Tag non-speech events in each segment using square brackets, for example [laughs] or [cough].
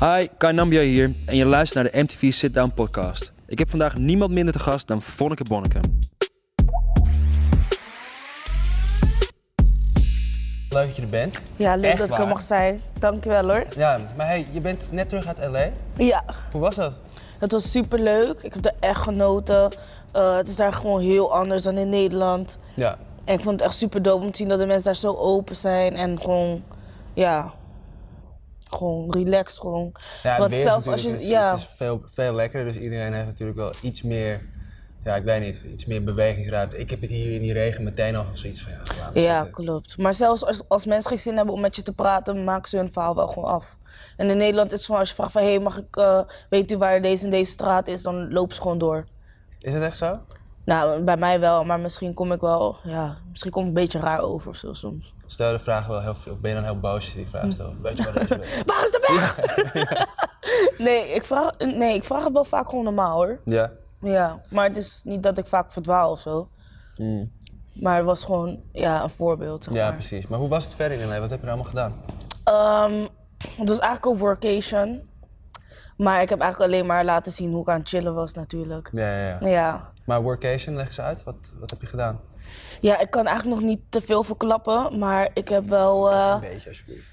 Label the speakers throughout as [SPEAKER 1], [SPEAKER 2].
[SPEAKER 1] Hi, Kai Nambia hier en je luistert naar de MTV Sit Down podcast. Ik heb vandaag niemand minder te gast dan Vonneke Bonneke. Leuk dat je er bent.
[SPEAKER 2] Ja, leuk
[SPEAKER 1] Echt
[SPEAKER 2] dat ik
[SPEAKER 1] waar?
[SPEAKER 2] er mag zijn. Dankjewel hoor.
[SPEAKER 1] Ja, maar hey, je bent net terug uit LA.
[SPEAKER 2] Ja,
[SPEAKER 1] Hoe was dat?
[SPEAKER 2] het was super leuk. Ik heb er echt genoten. Eh, het is daar gewoon heel anders dan in Nederland.
[SPEAKER 1] Ja.
[SPEAKER 2] En ik vond het echt super dope om te zien dat de mensen daar zo open zijn en gewoon, ja, gewoon relaxed gewoon.
[SPEAKER 3] Ja,
[SPEAKER 2] Want
[SPEAKER 3] weer
[SPEAKER 2] zelfs als
[SPEAKER 3] natuurlijk,
[SPEAKER 2] je,
[SPEAKER 3] het is,
[SPEAKER 2] ja,
[SPEAKER 3] het is veel, veel lekkerder, dus iedereen heeft natuurlijk wel iets meer, ja, ik weet niet, iets meer bewegingsruimte. Ik heb het hier in die regen meteen al zoiets van, ja, laat maar
[SPEAKER 2] ja,
[SPEAKER 3] zitten.
[SPEAKER 2] klopt. Maar zelfs als, als mensen geen zin hebben om met je te praten, maken ze hun verhaal wel gewoon af. En in Nederland is het van als je vraagt van, hé, hey, mag ik, eh, weet u waar deze en deze straat is, dan lopen ze gewoon door.
[SPEAKER 3] Is dat echt zo?
[SPEAKER 2] Nou, bij mij wel, maar misschien kom ik wel, ja, misschien kom ik een beetje raar over of zo soms.
[SPEAKER 3] Stel de vraag wel heel veel, ben je dan heel boos als je die vraag stelt?
[SPEAKER 2] Hm.
[SPEAKER 3] Weet je waar deze bent?
[SPEAKER 2] Waar is de weg? [laughs] nee, ik vraag, nee, ik vraag het wel vaak gewoon normaal hoor.
[SPEAKER 3] [laughs] Ja.
[SPEAKER 2] Ja, maar het is niet dat ik vaak verdwaal of zo. Maar het was gewoon, ja, een voorbeeld zeg
[SPEAKER 3] Hmm. Ja,
[SPEAKER 2] maar.
[SPEAKER 3] precies. Maar hoe was het verder in LA? Wat heb je er allemaal gedaan?
[SPEAKER 2] Ehm, het was eigenlijk een workation. Maar ik heb eigenlijk alleen maar laten zien hoe ik aan het chillen was natuurlijk.
[SPEAKER 3] Ja, ja, ja.
[SPEAKER 2] Ja,
[SPEAKER 3] Maar workation, leg eens uit. Wat, wat heb je gedaan?
[SPEAKER 2] ja ik kan eigenlijk nog niet te veel verklappen, maar ik heb wel... eh,
[SPEAKER 3] Een beetje, alsjeblieft.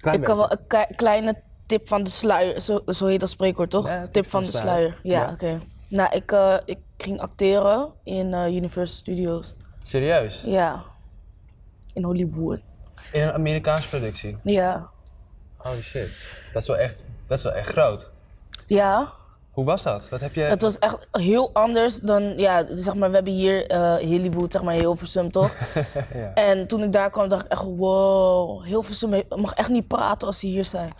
[SPEAKER 3] Klein
[SPEAKER 2] Ik kan wel
[SPEAKER 3] beetje.
[SPEAKER 2] een ki- kleine tip van de sluier, zo, zo heet dat spreekwoord toch?
[SPEAKER 3] Ja,
[SPEAKER 2] tip, van de sluier. Ja,
[SPEAKER 3] Ja.
[SPEAKER 2] oké. Nou, ik, eh, ik ging acteren in eh, Universal Studios.
[SPEAKER 3] Serieus?
[SPEAKER 2] Ja. In Hollywood.
[SPEAKER 3] In een Amerikaanse productie?
[SPEAKER 2] Ja.
[SPEAKER 3] Holy shit. Dat is wel echt, dat is wel echt groot.
[SPEAKER 2] Ja.
[SPEAKER 3] Hoe was dat? Wat heb je...
[SPEAKER 2] Het was echt heel anders dan, ja, zeg maar, we hebben hier eh, Hollywood, zeg maar, Hilversum,
[SPEAKER 3] [laughs]
[SPEAKER 2] toch? En toen ik daar kwam, dacht ik echt, wow, Hilversum he- mag echt niet praten als ze hier zijn.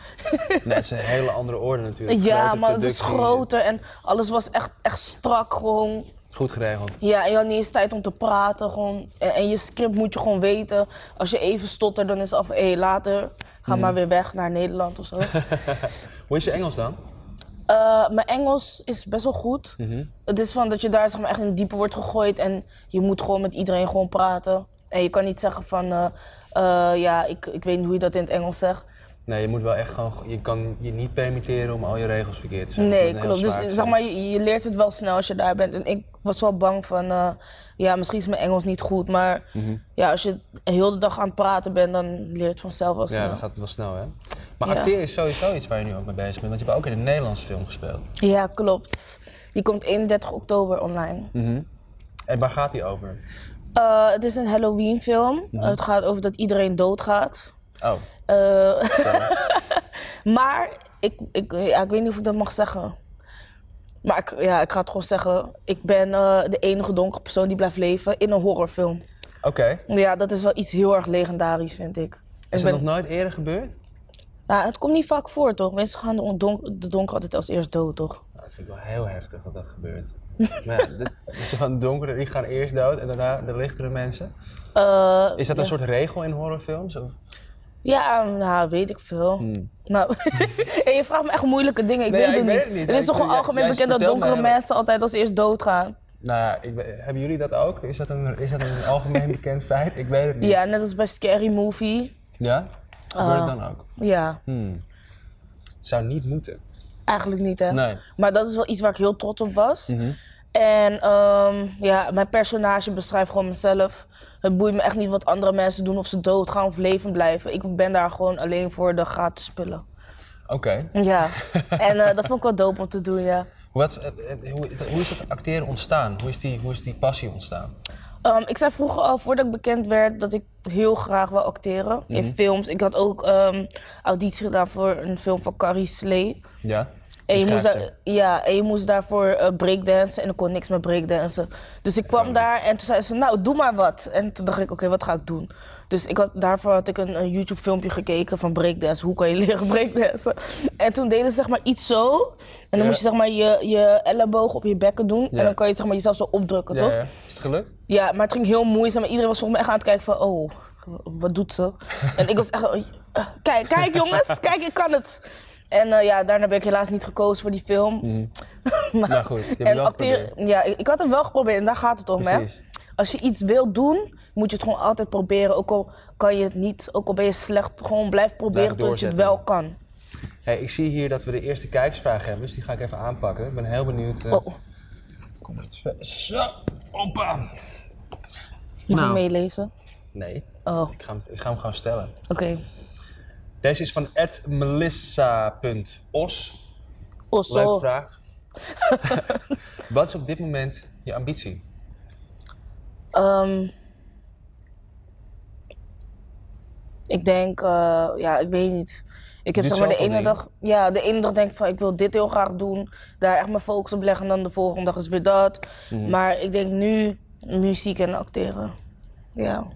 [SPEAKER 3] Nee, het is een hele andere orde natuurlijk.
[SPEAKER 2] ja,
[SPEAKER 3] Grote
[SPEAKER 2] maar het is
[SPEAKER 3] producties.
[SPEAKER 2] groter en alles was echt, echt strak, gewoon.
[SPEAKER 3] Goed geregeld.
[SPEAKER 2] Ja, en je had niet eens tijd om te praten. Gewoon. eh, En, en je script moet je gewoon weten. Als je even stottert, dan is het af. Hé, later. Ga maar weer weg naar Nederland of zo.
[SPEAKER 3] Hoe is je Engels dan?
[SPEAKER 2] Eh, mijn Engels is best wel goed. Het is van dat je daar zeg maar, echt in het diepe wordt gegooid. En je moet gewoon met iedereen gewoon praten. En je kan niet zeggen van... eh, eh, ja, ik, ik weet niet hoe je dat in het Engels zegt.
[SPEAKER 3] Nee, je moet wel echt gewoon. Je kan je niet permitteren om al je regels verkeerd te zeggen.
[SPEAKER 2] Nee,
[SPEAKER 3] Je moet heel
[SPEAKER 2] klopt. Dus
[SPEAKER 3] zwaar
[SPEAKER 2] zeg
[SPEAKER 3] zijn.
[SPEAKER 2] maar, je, je leert het wel snel als je daar bent. En ik was wel bang van, eh, ja, misschien is mijn Engels niet goed. Maar
[SPEAKER 3] Mhm.
[SPEAKER 2] ja, als je heel de dag aan het praten bent, dan leert het vanzelf wel
[SPEAKER 3] Ja,
[SPEAKER 2] snel.
[SPEAKER 3] dan gaat het wel snel, hè? Maar
[SPEAKER 2] Ja.
[SPEAKER 3] acteren is sowieso iets waar je nu ook mee bezig bent. Want je hebt ook in een Nederlands film gespeeld.
[SPEAKER 2] Ja, klopt. Die komt 31 oktober online.
[SPEAKER 3] Mhm. En waar gaat die over?
[SPEAKER 2] Eh, het is een Halloween film.
[SPEAKER 3] Mhm.
[SPEAKER 2] Het gaat over dat iedereen doodgaat.
[SPEAKER 3] Oh,
[SPEAKER 2] Eh, [laughs]
[SPEAKER 3] sorry.
[SPEAKER 2] maar ik, ik, ja, ik weet niet of ik dat mag zeggen. Maar ik, ja, ik ga het gewoon zeggen. Ik ben eh, de enige donkere persoon die blijft leven in een horrorfilm.
[SPEAKER 3] Oké.
[SPEAKER 2] Ja, dat is wel iets heel erg legendarisch, vind ik.
[SPEAKER 3] Is
[SPEAKER 2] ik
[SPEAKER 3] dat
[SPEAKER 2] ben-
[SPEAKER 3] nog nooit eerder gebeurd?
[SPEAKER 2] nou, het komt niet vaak voor, toch? Mensen gaan de donker, de donker altijd als eerst dood, toch?
[SPEAKER 3] Nou, dat vind ik wel heel heftig dat dat
[SPEAKER 2] [laughs]
[SPEAKER 3] gebeurt. maar ja, dit, dus van donkere die gaan eerst dood en daarna de lichtere mensen.
[SPEAKER 2] Eh,
[SPEAKER 3] Is dat
[SPEAKER 2] ja.
[SPEAKER 3] een soort regel in horrorfilms? Of?
[SPEAKER 2] Ja, nou, weet ik veel. Nou, [laughs] en je vraagt me echt moeilijke dingen. Ik
[SPEAKER 3] Hmm. Nee,
[SPEAKER 2] weet
[SPEAKER 3] ja,
[SPEAKER 2] het,
[SPEAKER 3] ik weet
[SPEAKER 2] niet.
[SPEAKER 3] het niet.
[SPEAKER 2] is toch
[SPEAKER 3] Ik-
[SPEAKER 2] gewoon
[SPEAKER 3] ja,
[SPEAKER 2] algemeen
[SPEAKER 3] jij
[SPEAKER 2] bekend dat
[SPEAKER 3] vertelt
[SPEAKER 2] donkere
[SPEAKER 3] mij dat.
[SPEAKER 2] mensen altijd als eerst doodgaan?
[SPEAKER 3] Nou ja, ik, weet- hebben jullie dat ook? Is dat een, is dat
[SPEAKER 2] [laughs]
[SPEAKER 3] een algemeen bekend feit? Ik weet het niet.
[SPEAKER 2] Ja, Oh. net als bij Scary Movie.
[SPEAKER 3] Ja? Gebeurt het dan ook?
[SPEAKER 2] Ja,
[SPEAKER 3] Het zou niet moeten.
[SPEAKER 2] eigenlijk niet, hè?
[SPEAKER 3] Nee.
[SPEAKER 2] Maar dat is wel iets waar ik heel trots op was. En ehm, ja, mijn personage beschrijft gewoon mezelf. Het boeit me echt niet wat andere mensen doen, of ze doodgaan of levend blijven. Ik ben daar gewoon alleen voor de gratis spullen.
[SPEAKER 3] Oké.
[SPEAKER 2] Ja, [laughs] en eh, dat vond ik wel dope om te doen, ja.
[SPEAKER 3] Wat- eh, eh, Hoe, hoe is dat acteren ontstaan? Hoe is die, hoe is die passie ontstaan?
[SPEAKER 2] Ehm, ik zei vroeger al, voordat ik bekend werd, dat ik heel graag wil acteren. In films. Ik had ook ehm, auditie gedaan voor een film van Carrie Slee.
[SPEAKER 3] Ja. Dus
[SPEAKER 2] En Eh, je, moest daar-
[SPEAKER 3] Schrijfster.
[SPEAKER 2] ja, en je moest daarvoor eh, breakdansen en ik kon niks met breakdansen. Dus ik kwam daar en toen zei ze, nou doe maar wat. En toen dacht ik, oké, wat ga ik doen? Dus ik had, daarvoor had ik een, een YouTube filmpje gekeken van breakdance. Hoe kan je leren [laughs] breakdansen? En toen deden ze zeg maar iets zo. En dan
[SPEAKER 3] Ja.
[SPEAKER 2] moest je zeg maar je, je elleboog op je bekken doen.
[SPEAKER 3] Ja.
[SPEAKER 2] En dan kan je zeg maar jezelf zo opdrukken,
[SPEAKER 3] Ja,
[SPEAKER 2] toch?
[SPEAKER 3] ja. Is het gelukt?
[SPEAKER 2] Ja, maar het ging heel moeizaam. Iedereen was volgens mij echt aan het kijken van, oh, wat doet
[SPEAKER 3] [laughs]
[SPEAKER 2] ze? en ik was echt, eh, eh, kijk, kijk jongens, kijk, ik kan het. En eh, ja, daarna ben ik helaas niet gekozen voor die film. maar,
[SPEAKER 3] Nou goed, je Mhm. hebt het
[SPEAKER 2] en
[SPEAKER 3] wel
[SPEAKER 2] acteren,
[SPEAKER 3] geprobeerd.
[SPEAKER 2] ja, ik, ik had het wel geprobeerd en daar gaat het om,
[SPEAKER 3] Precies.
[SPEAKER 2] hè. Als je iets wilt doen, moet je het gewoon altijd proberen. Ook al kan je het niet, ook al ben je slecht, gewoon blijf proberen tot je het
[SPEAKER 3] doorzetten.
[SPEAKER 2] wel kan.
[SPEAKER 3] Hé, Hey, ik zie hier dat we de eerste kijkersvraag hebben, dus die ga ik even aanpakken. Ik ben heel benieuwd. eh,
[SPEAKER 2] Oh,
[SPEAKER 3] Kom iets ver- Zo, hoppa.
[SPEAKER 2] mag
[SPEAKER 3] Nou.
[SPEAKER 2] ik meelezen?
[SPEAKER 3] Nee,
[SPEAKER 2] Oh, oké.
[SPEAKER 3] ik ga, hem- ik ga hem gewoon stellen. Deze is van melissa.os. Leuke
[SPEAKER 2] Osso. [laughs]
[SPEAKER 3] vraag. Wat is op dit moment je ambitie?
[SPEAKER 2] Ehm, ik denk, eh, ja, ik weet niet. Ik heb
[SPEAKER 3] Doet
[SPEAKER 2] zeg maar de
[SPEAKER 3] zoveel
[SPEAKER 2] ene
[SPEAKER 3] dingen.
[SPEAKER 2] dag, ja, de ene dag denk ik van ik wil dit heel graag doen, daar echt mijn focus op leggen en dan de volgende dag is weer dat. Maar ik denk nu muziek en acteren. Ja.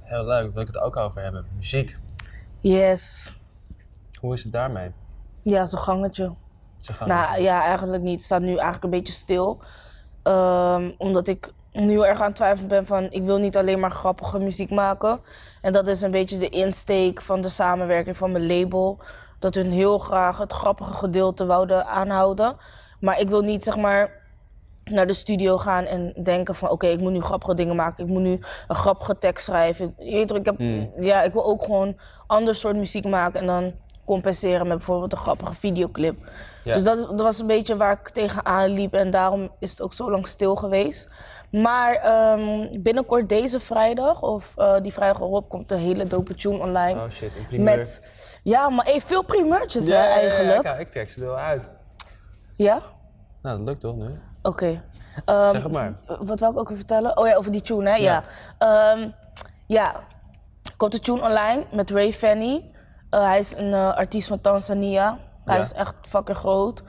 [SPEAKER 3] Heel leuk, wil ik het ook over hebben. Muziek.
[SPEAKER 2] Yes.
[SPEAKER 3] Hoe is het daarmee?
[SPEAKER 2] Ja, zo'n gangetje.
[SPEAKER 3] Ze gaan
[SPEAKER 2] Nou ja, eigenlijk niet. Het staat nu eigenlijk een beetje stil. Ehm, omdat ik nu heel erg aan het twijfelen ben van... ik wil niet alleen maar grappige muziek maken. En dat is een beetje de insteek van de samenwerking van mijn label. Dat hun heel graag het grappige gedeelte wouden aanhouden. Maar ik wil niet zeg maar naar de studio gaan en denken van... oké, ik moet nu grappige dingen maken. Ik moet nu een grappige tekst schrijven. Ik, je weet toch, ik, heb,
[SPEAKER 3] Hmm.
[SPEAKER 2] ja, ik wil ook gewoon ander soort muziek maken... en dan compenseren met bijvoorbeeld een grappige videoclip.
[SPEAKER 3] Ja.
[SPEAKER 2] Dus dat, is- dat was een beetje waar ik tegenaan liep. En daarom is het ook zo lang stil geweest. Maar ehm, binnenkort deze vrijdag, of eh, die vrijdag erop, komt een hele dope tune online.
[SPEAKER 3] Oh shit, een primeur.
[SPEAKER 2] met, ja, maar hey, veel primeurtjes
[SPEAKER 3] Ja,
[SPEAKER 2] hè,
[SPEAKER 3] ja, ja, ja,
[SPEAKER 2] eigenlijk.
[SPEAKER 3] kijk, ik trek ze er wel uit.
[SPEAKER 2] Ja?
[SPEAKER 3] Nou, dat lukt toch nu?
[SPEAKER 2] Oké. Ehm,
[SPEAKER 3] Zeg het maar.
[SPEAKER 2] Wat wil ik ook even vertellen? Oh ja, over die tune, hè? Ja. Ja. Ehm, ja. Komt de tune online met Ray Fanny. Eh, hij is een eh, artiest van Tanzania. Hij
[SPEAKER 3] Ja.
[SPEAKER 2] is echt fucking groot.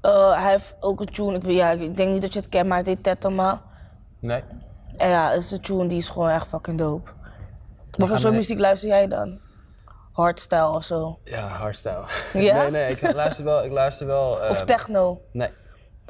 [SPEAKER 2] Eh, hij heeft ook een tune, ik, weet- ja, ik denk niet dat je het kent, maar het heet Tetama.
[SPEAKER 3] Nee.
[SPEAKER 2] En ja, het is een tune die is gewoon echt fucking dope. Wat voor
[SPEAKER 3] gaan
[SPEAKER 2] soort
[SPEAKER 3] we-
[SPEAKER 2] muziek luister jij dan? Hardstyle of zo?
[SPEAKER 3] Ja, hardstyle.
[SPEAKER 2] [laughs] Ja?
[SPEAKER 3] Nee, nee, ik luister wel. Ik luister wel eh,
[SPEAKER 2] Of techno?
[SPEAKER 3] Nee.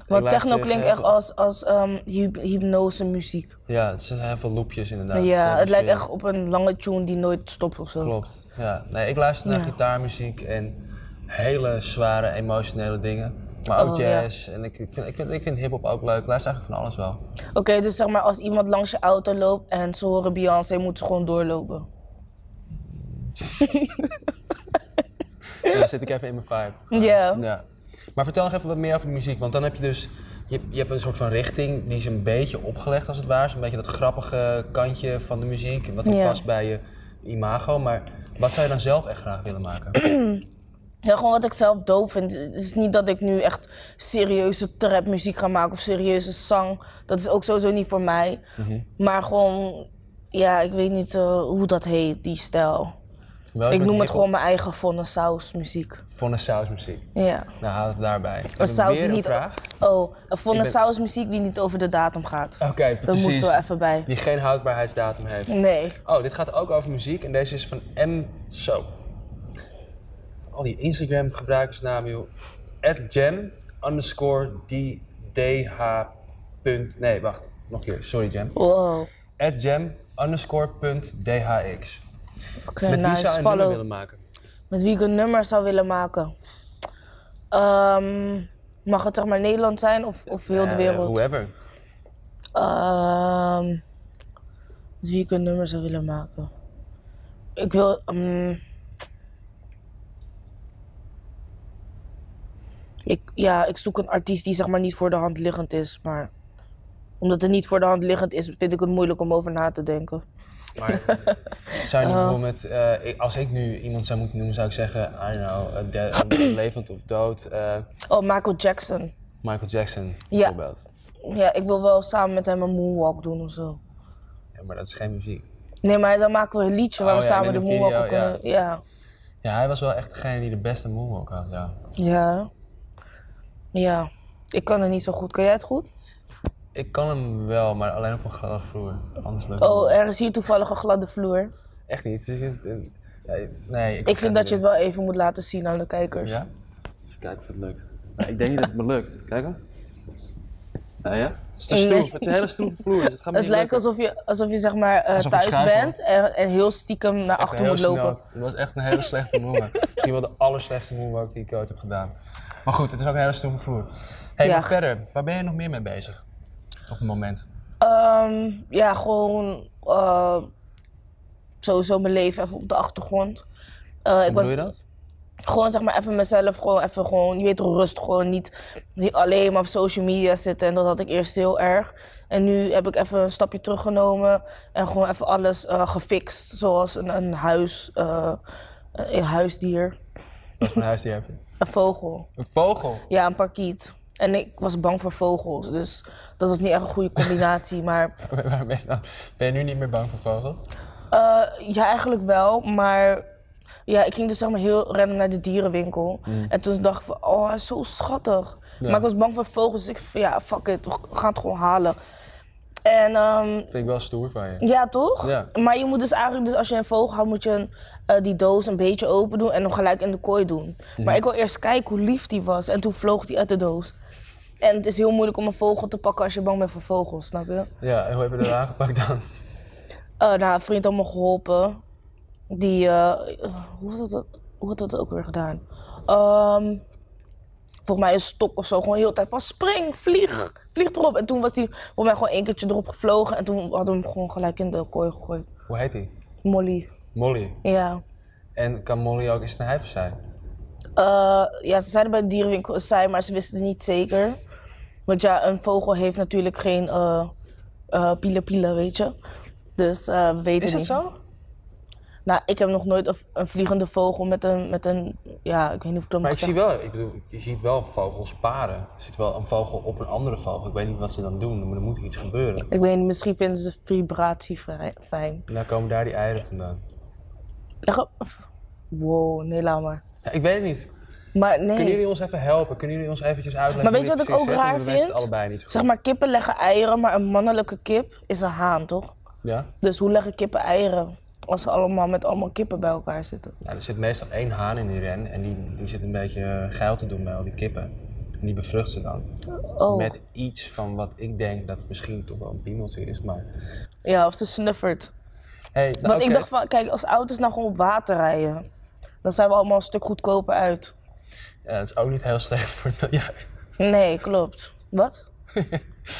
[SPEAKER 2] Want
[SPEAKER 3] Ik luister
[SPEAKER 2] techno klinkt
[SPEAKER 3] heel
[SPEAKER 2] echt
[SPEAKER 3] veel-
[SPEAKER 2] als, als ehm, hyp- hypnose muziek.
[SPEAKER 3] Ja, het zijn heel veel loopjes inderdaad.
[SPEAKER 2] Ja,
[SPEAKER 3] Dus,
[SPEAKER 2] het lijkt
[SPEAKER 3] eh,
[SPEAKER 2] echt op een lange tune die nooit stopt of zo.
[SPEAKER 3] Klopt. Ja. Nee, ik luister naar gitaarmuziek en hele zware emotionele dingen. Maar
[SPEAKER 2] Oh,
[SPEAKER 3] ook
[SPEAKER 2] ja.
[SPEAKER 3] jazz. En ik, ik vind, ik vind, ik vind hip-hop ook leuk. Ik luister eigenlijk van alles wel.
[SPEAKER 2] Oké, dus zeg maar als iemand langs je auto loopt en ze horen Beyoncé, moeten ze gewoon doorlopen.
[SPEAKER 3] Ja, dan zit ik even in mijn vibe.
[SPEAKER 2] Ja.
[SPEAKER 3] Ja. Maar vertel nog even wat meer over de muziek. Want dan heb je dus. Je, je hebt een soort van richting die is een beetje opgelegd als het ware. Zo'n beetje dat grappige kantje van de muziek. Wat dan
[SPEAKER 2] Ja.
[SPEAKER 3] past bij je imago. Maar wat zou je dan zelf echt graag willen maken?
[SPEAKER 2] Ja, gewoon wat ik zelf dope vind. Het is niet dat ik nu echt serieuze trapmuziek ga maken of serieuze zang. Dat is ook sowieso niet voor mij.
[SPEAKER 3] Mhm.
[SPEAKER 2] Maar gewoon, ja, ik weet niet eh, hoe dat heet, die stijl.
[SPEAKER 3] Wel,
[SPEAKER 2] ik
[SPEAKER 3] ben
[SPEAKER 2] noem het
[SPEAKER 3] Oh, hip-hop
[SPEAKER 2] gewoon mijn eigen vonne saus muziek.
[SPEAKER 3] Voor een sausmuziek.
[SPEAKER 2] Ja.
[SPEAKER 3] Nou, houd het daarbij. Ik
[SPEAKER 2] Een
[SPEAKER 3] heb
[SPEAKER 2] saus
[SPEAKER 3] weer
[SPEAKER 2] die
[SPEAKER 3] een
[SPEAKER 2] niet.
[SPEAKER 3] vraag.
[SPEAKER 2] Oh, een vonne
[SPEAKER 3] ben-
[SPEAKER 2] saus muziek die niet over de datum gaat.
[SPEAKER 3] Oké,
[SPEAKER 2] Dat
[SPEAKER 3] precies.
[SPEAKER 2] moest er even bij.
[SPEAKER 3] Die geen houdbaarheidsdatum heeft.
[SPEAKER 2] Nee.
[SPEAKER 3] Oh, dit gaat ook over muziek en deze is van M. Zo. Al die Instagram gebruikersnamen, joh. At jam underscore d- dh. punt- Nee, wacht. Nog een keer. Sorry, Jam.
[SPEAKER 2] Wow.
[SPEAKER 3] At jam underscore punt dhx.
[SPEAKER 2] Oké,
[SPEAKER 3] Met wie
[SPEAKER 2] nice.
[SPEAKER 3] zou je een nummer
[SPEAKER 2] Follow.
[SPEAKER 3] willen maken?
[SPEAKER 2] Met wie ik een nummer zou willen maken? Ehm, mag het zeg maar Nederland zijn of, of heel de
[SPEAKER 3] Eh,
[SPEAKER 2] wereld?
[SPEAKER 3] whoever.
[SPEAKER 2] Ehm, met wie ik een nummer zou willen maken? Ik wil... ehm, ik, ja, ik zoek een artiest die zeg maar niet voor de hand liggend is, maar... Omdat het niet voor de hand liggend is, vind ik het moeilijk om over na te denken. [laughs]
[SPEAKER 3] Maar zou
[SPEAKER 2] Oh.
[SPEAKER 3] je niet bijvoorbeeld, eh, ik- als ik nu iemand zou moeten noemen, zou ik zeggen, I don't know, eh, de- levend of dood, eh,
[SPEAKER 2] Oh, Michael Jackson.
[SPEAKER 3] Michael Jackson bijvoorbeeld.
[SPEAKER 2] Ja, ik wil wel samen met hem een moonwalk doen of zo.
[SPEAKER 3] Ja, maar dat is geen muziek.
[SPEAKER 2] Nee, maar dan maken we een liedje waar
[SPEAKER 3] Oh
[SPEAKER 2] we
[SPEAKER 3] ja,
[SPEAKER 2] samen
[SPEAKER 3] met
[SPEAKER 2] de
[SPEAKER 3] een
[SPEAKER 2] moonwalk op
[SPEAKER 3] video, ja.
[SPEAKER 2] kunnen. Ja.
[SPEAKER 3] Ja, hij was wel echt degene die de beste moonwalk had, ja.
[SPEAKER 2] ja. Ja. Ik kan het niet zo goed. Kun jij het goed?
[SPEAKER 3] Ik kan hem wel, maar alleen op een gladde vloer. Anders lukt het
[SPEAKER 2] Oh,
[SPEAKER 3] niet.
[SPEAKER 2] er is hier toevallig een gladde vloer.
[SPEAKER 3] Echt niet. Het is een- een- ja, nee,
[SPEAKER 2] Ik vind dat je het wel even moet laten zien aan de kijkers.
[SPEAKER 3] Ja? Even kijken of het lukt.
[SPEAKER 1] Nou, ik denk niet dat het me lukt. Kijk hoor. Nou ja. Het is te
[SPEAKER 2] Nee.
[SPEAKER 1] stroef. Het is een hele stroeve vloer. Dus het gaat me
[SPEAKER 2] Het
[SPEAKER 1] niet
[SPEAKER 2] lijkt alsof je, alsof je zeg maar eh,
[SPEAKER 3] Alsof ik
[SPEAKER 2] thuis
[SPEAKER 3] schuif,
[SPEAKER 2] bent en, en heel stiekem naar
[SPEAKER 3] Echt
[SPEAKER 2] achter
[SPEAKER 3] heel
[SPEAKER 2] moet lopen.
[SPEAKER 3] snel. Het was echt een hele slechte
[SPEAKER 2] [laughs]
[SPEAKER 3] moonwalk. Misschien wel de allerslechtste moonwalk die ik ooit heb gedaan. Maar goed, het is ook een hele stroeve vloer. hey,
[SPEAKER 2] Ja.
[SPEAKER 3] maar verder. Waar ben je nog meer mee bezig? Op het moment.
[SPEAKER 2] Ehm, ja, gewoon eh, sowieso mijn leven even op de achtergrond. Eh,
[SPEAKER 3] Hoe bedoel je dat?
[SPEAKER 2] gewoon zeg maar even mezelf, gewoon even gewoon, je weet toch, rust. Gewoon niet he- alleen maar op social media zitten. En dat had ik eerst heel erg. En nu heb ik even een stapje teruggenomen en gewoon even alles eh, gefixt. Zoals een, een huis, eh, een huisdier,
[SPEAKER 3] Wat voor een huisdier heb je?
[SPEAKER 2] een vogel.
[SPEAKER 3] Een vogel. [laughs]
[SPEAKER 2] Ja, een parkiet. En ik was bang voor vogels, dus dat was niet echt een goede combinatie. [laughs] Maar
[SPEAKER 3] Waarom ben je dan? Ben je nu niet meer bang voor vogels?
[SPEAKER 2] Eh, ja, eigenlijk wel, maar ja, ik ging dus zeg maar heel random naar de dierenwinkel. En toen dacht ik van, oh, hij is zo schattig. Maar ik was bang voor vogels, dus ik van, ja, fuck it, we gaan het gewoon halen. En ehm,
[SPEAKER 3] Vind ik wel stoer van je.
[SPEAKER 2] ja, toch?
[SPEAKER 3] Ja.
[SPEAKER 2] Maar je moet dus eigenlijk, dus als je een vogel houdt, moet je een, eh, die doos een beetje open doen en hem gelijk in de kooi doen. Maar ik wil eerst kijken hoe lief die was en toen vloog die uit de doos. En het is heel moeilijk om een vogel te pakken als je bang bent voor vogels, snap je?
[SPEAKER 3] Ja, en hoe heb [laughs] je dat aangepakt dan?
[SPEAKER 2] Eh, nou, een vriend had me geholpen. Die, eh, hoe, had dat, hoe had dat ook weer gedaan? Ehm, volgens mij een stok of zo, gewoon heel de tijd van spring, vlieg, vlieg erop. En toen was hij volgens mij gewoon één keertje erop gevlogen en toen hadden we hem gewoon gelijk in de kooi gegooid.
[SPEAKER 3] Hoe heet hij?
[SPEAKER 2] Molly,
[SPEAKER 3] Molly.
[SPEAKER 2] ja.
[SPEAKER 3] En kan Molly ook eens naar huis zijn?
[SPEAKER 2] Eh, ja, ze zeiden bij de dierenwinkel een zij, maar ze wisten het niet zeker. Want ja, een vogel heeft natuurlijk geen eh eh pielen pielen, weet je. Dus eh, we weten
[SPEAKER 3] Is
[SPEAKER 2] niet.
[SPEAKER 3] dat zo?
[SPEAKER 2] Nou, ik heb nog nooit een, een vliegende vogel met een, met een. Ja, ik weet niet of ik dat
[SPEAKER 3] Maar
[SPEAKER 2] moet
[SPEAKER 3] ik zie
[SPEAKER 2] zeggen.
[SPEAKER 3] wel, ik bedoel, je ziet wel vogels paren. Er zit wel een vogel op een andere vogel. Ik weet niet wat ze dan doen, maar er moet iets gebeuren.
[SPEAKER 2] Ik weet niet, misschien vinden ze vibratie vrij- fijn.
[SPEAKER 3] En dan komen daar die eieren vandaan.
[SPEAKER 2] Leg op. Wow, nee, laat maar.
[SPEAKER 3] Ja, ik weet het niet.
[SPEAKER 2] Maar
[SPEAKER 3] Kunnen
[SPEAKER 2] nee.
[SPEAKER 3] jullie ons even helpen? Kunnen jullie ons eventjes uitleggen?
[SPEAKER 2] Maar weet
[SPEAKER 3] hoe
[SPEAKER 2] je
[SPEAKER 3] dit
[SPEAKER 2] wat ik ook
[SPEAKER 3] precies
[SPEAKER 2] raar
[SPEAKER 3] zit? Want we weten
[SPEAKER 2] vind?
[SPEAKER 3] het allebei niet zo
[SPEAKER 2] Zeg
[SPEAKER 3] goed.
[SPEAKER 2] maar, kippen leggen eieren, maar een mannelijke kip is een haan, toch?
[SPEAKER 3] Ja?
[SPEAKER 2] Dus hoe leggen kippen eieren? Als ze allemaal met allemaal kippen bij elkaar zitten.
[SPEAKER 3] Nou, er zit meestal één haan in die ren en die, die zit een beetje eh, geil te doen bij al die kippen. En die bevrucht ze dan.
[SPEAKER 2] Oh.
[SPEAKER 3] Met iets van wat ik denk dat misschien toch wel een piemeltje is, maar...
[SPEAKER 2] Ja, of ze snuffert.
[SPEAKER 3] Hey, nou,
[SPEAKER 2] Want ik
[SPEAKER 3] oké.
[SPEAKER 2] dacht van, kijk, als auto's nou gewoon op water rijden, dan zijn we allemaal een stuk goedkoper uit.
[SPEAKER 3] Ja, dat is ook niet heel slecht voor het milieu.
[SPEAKER 2] Nee, klopt.
[SPEAKER 3] [laughs]
[SPEAKER 2] Wat?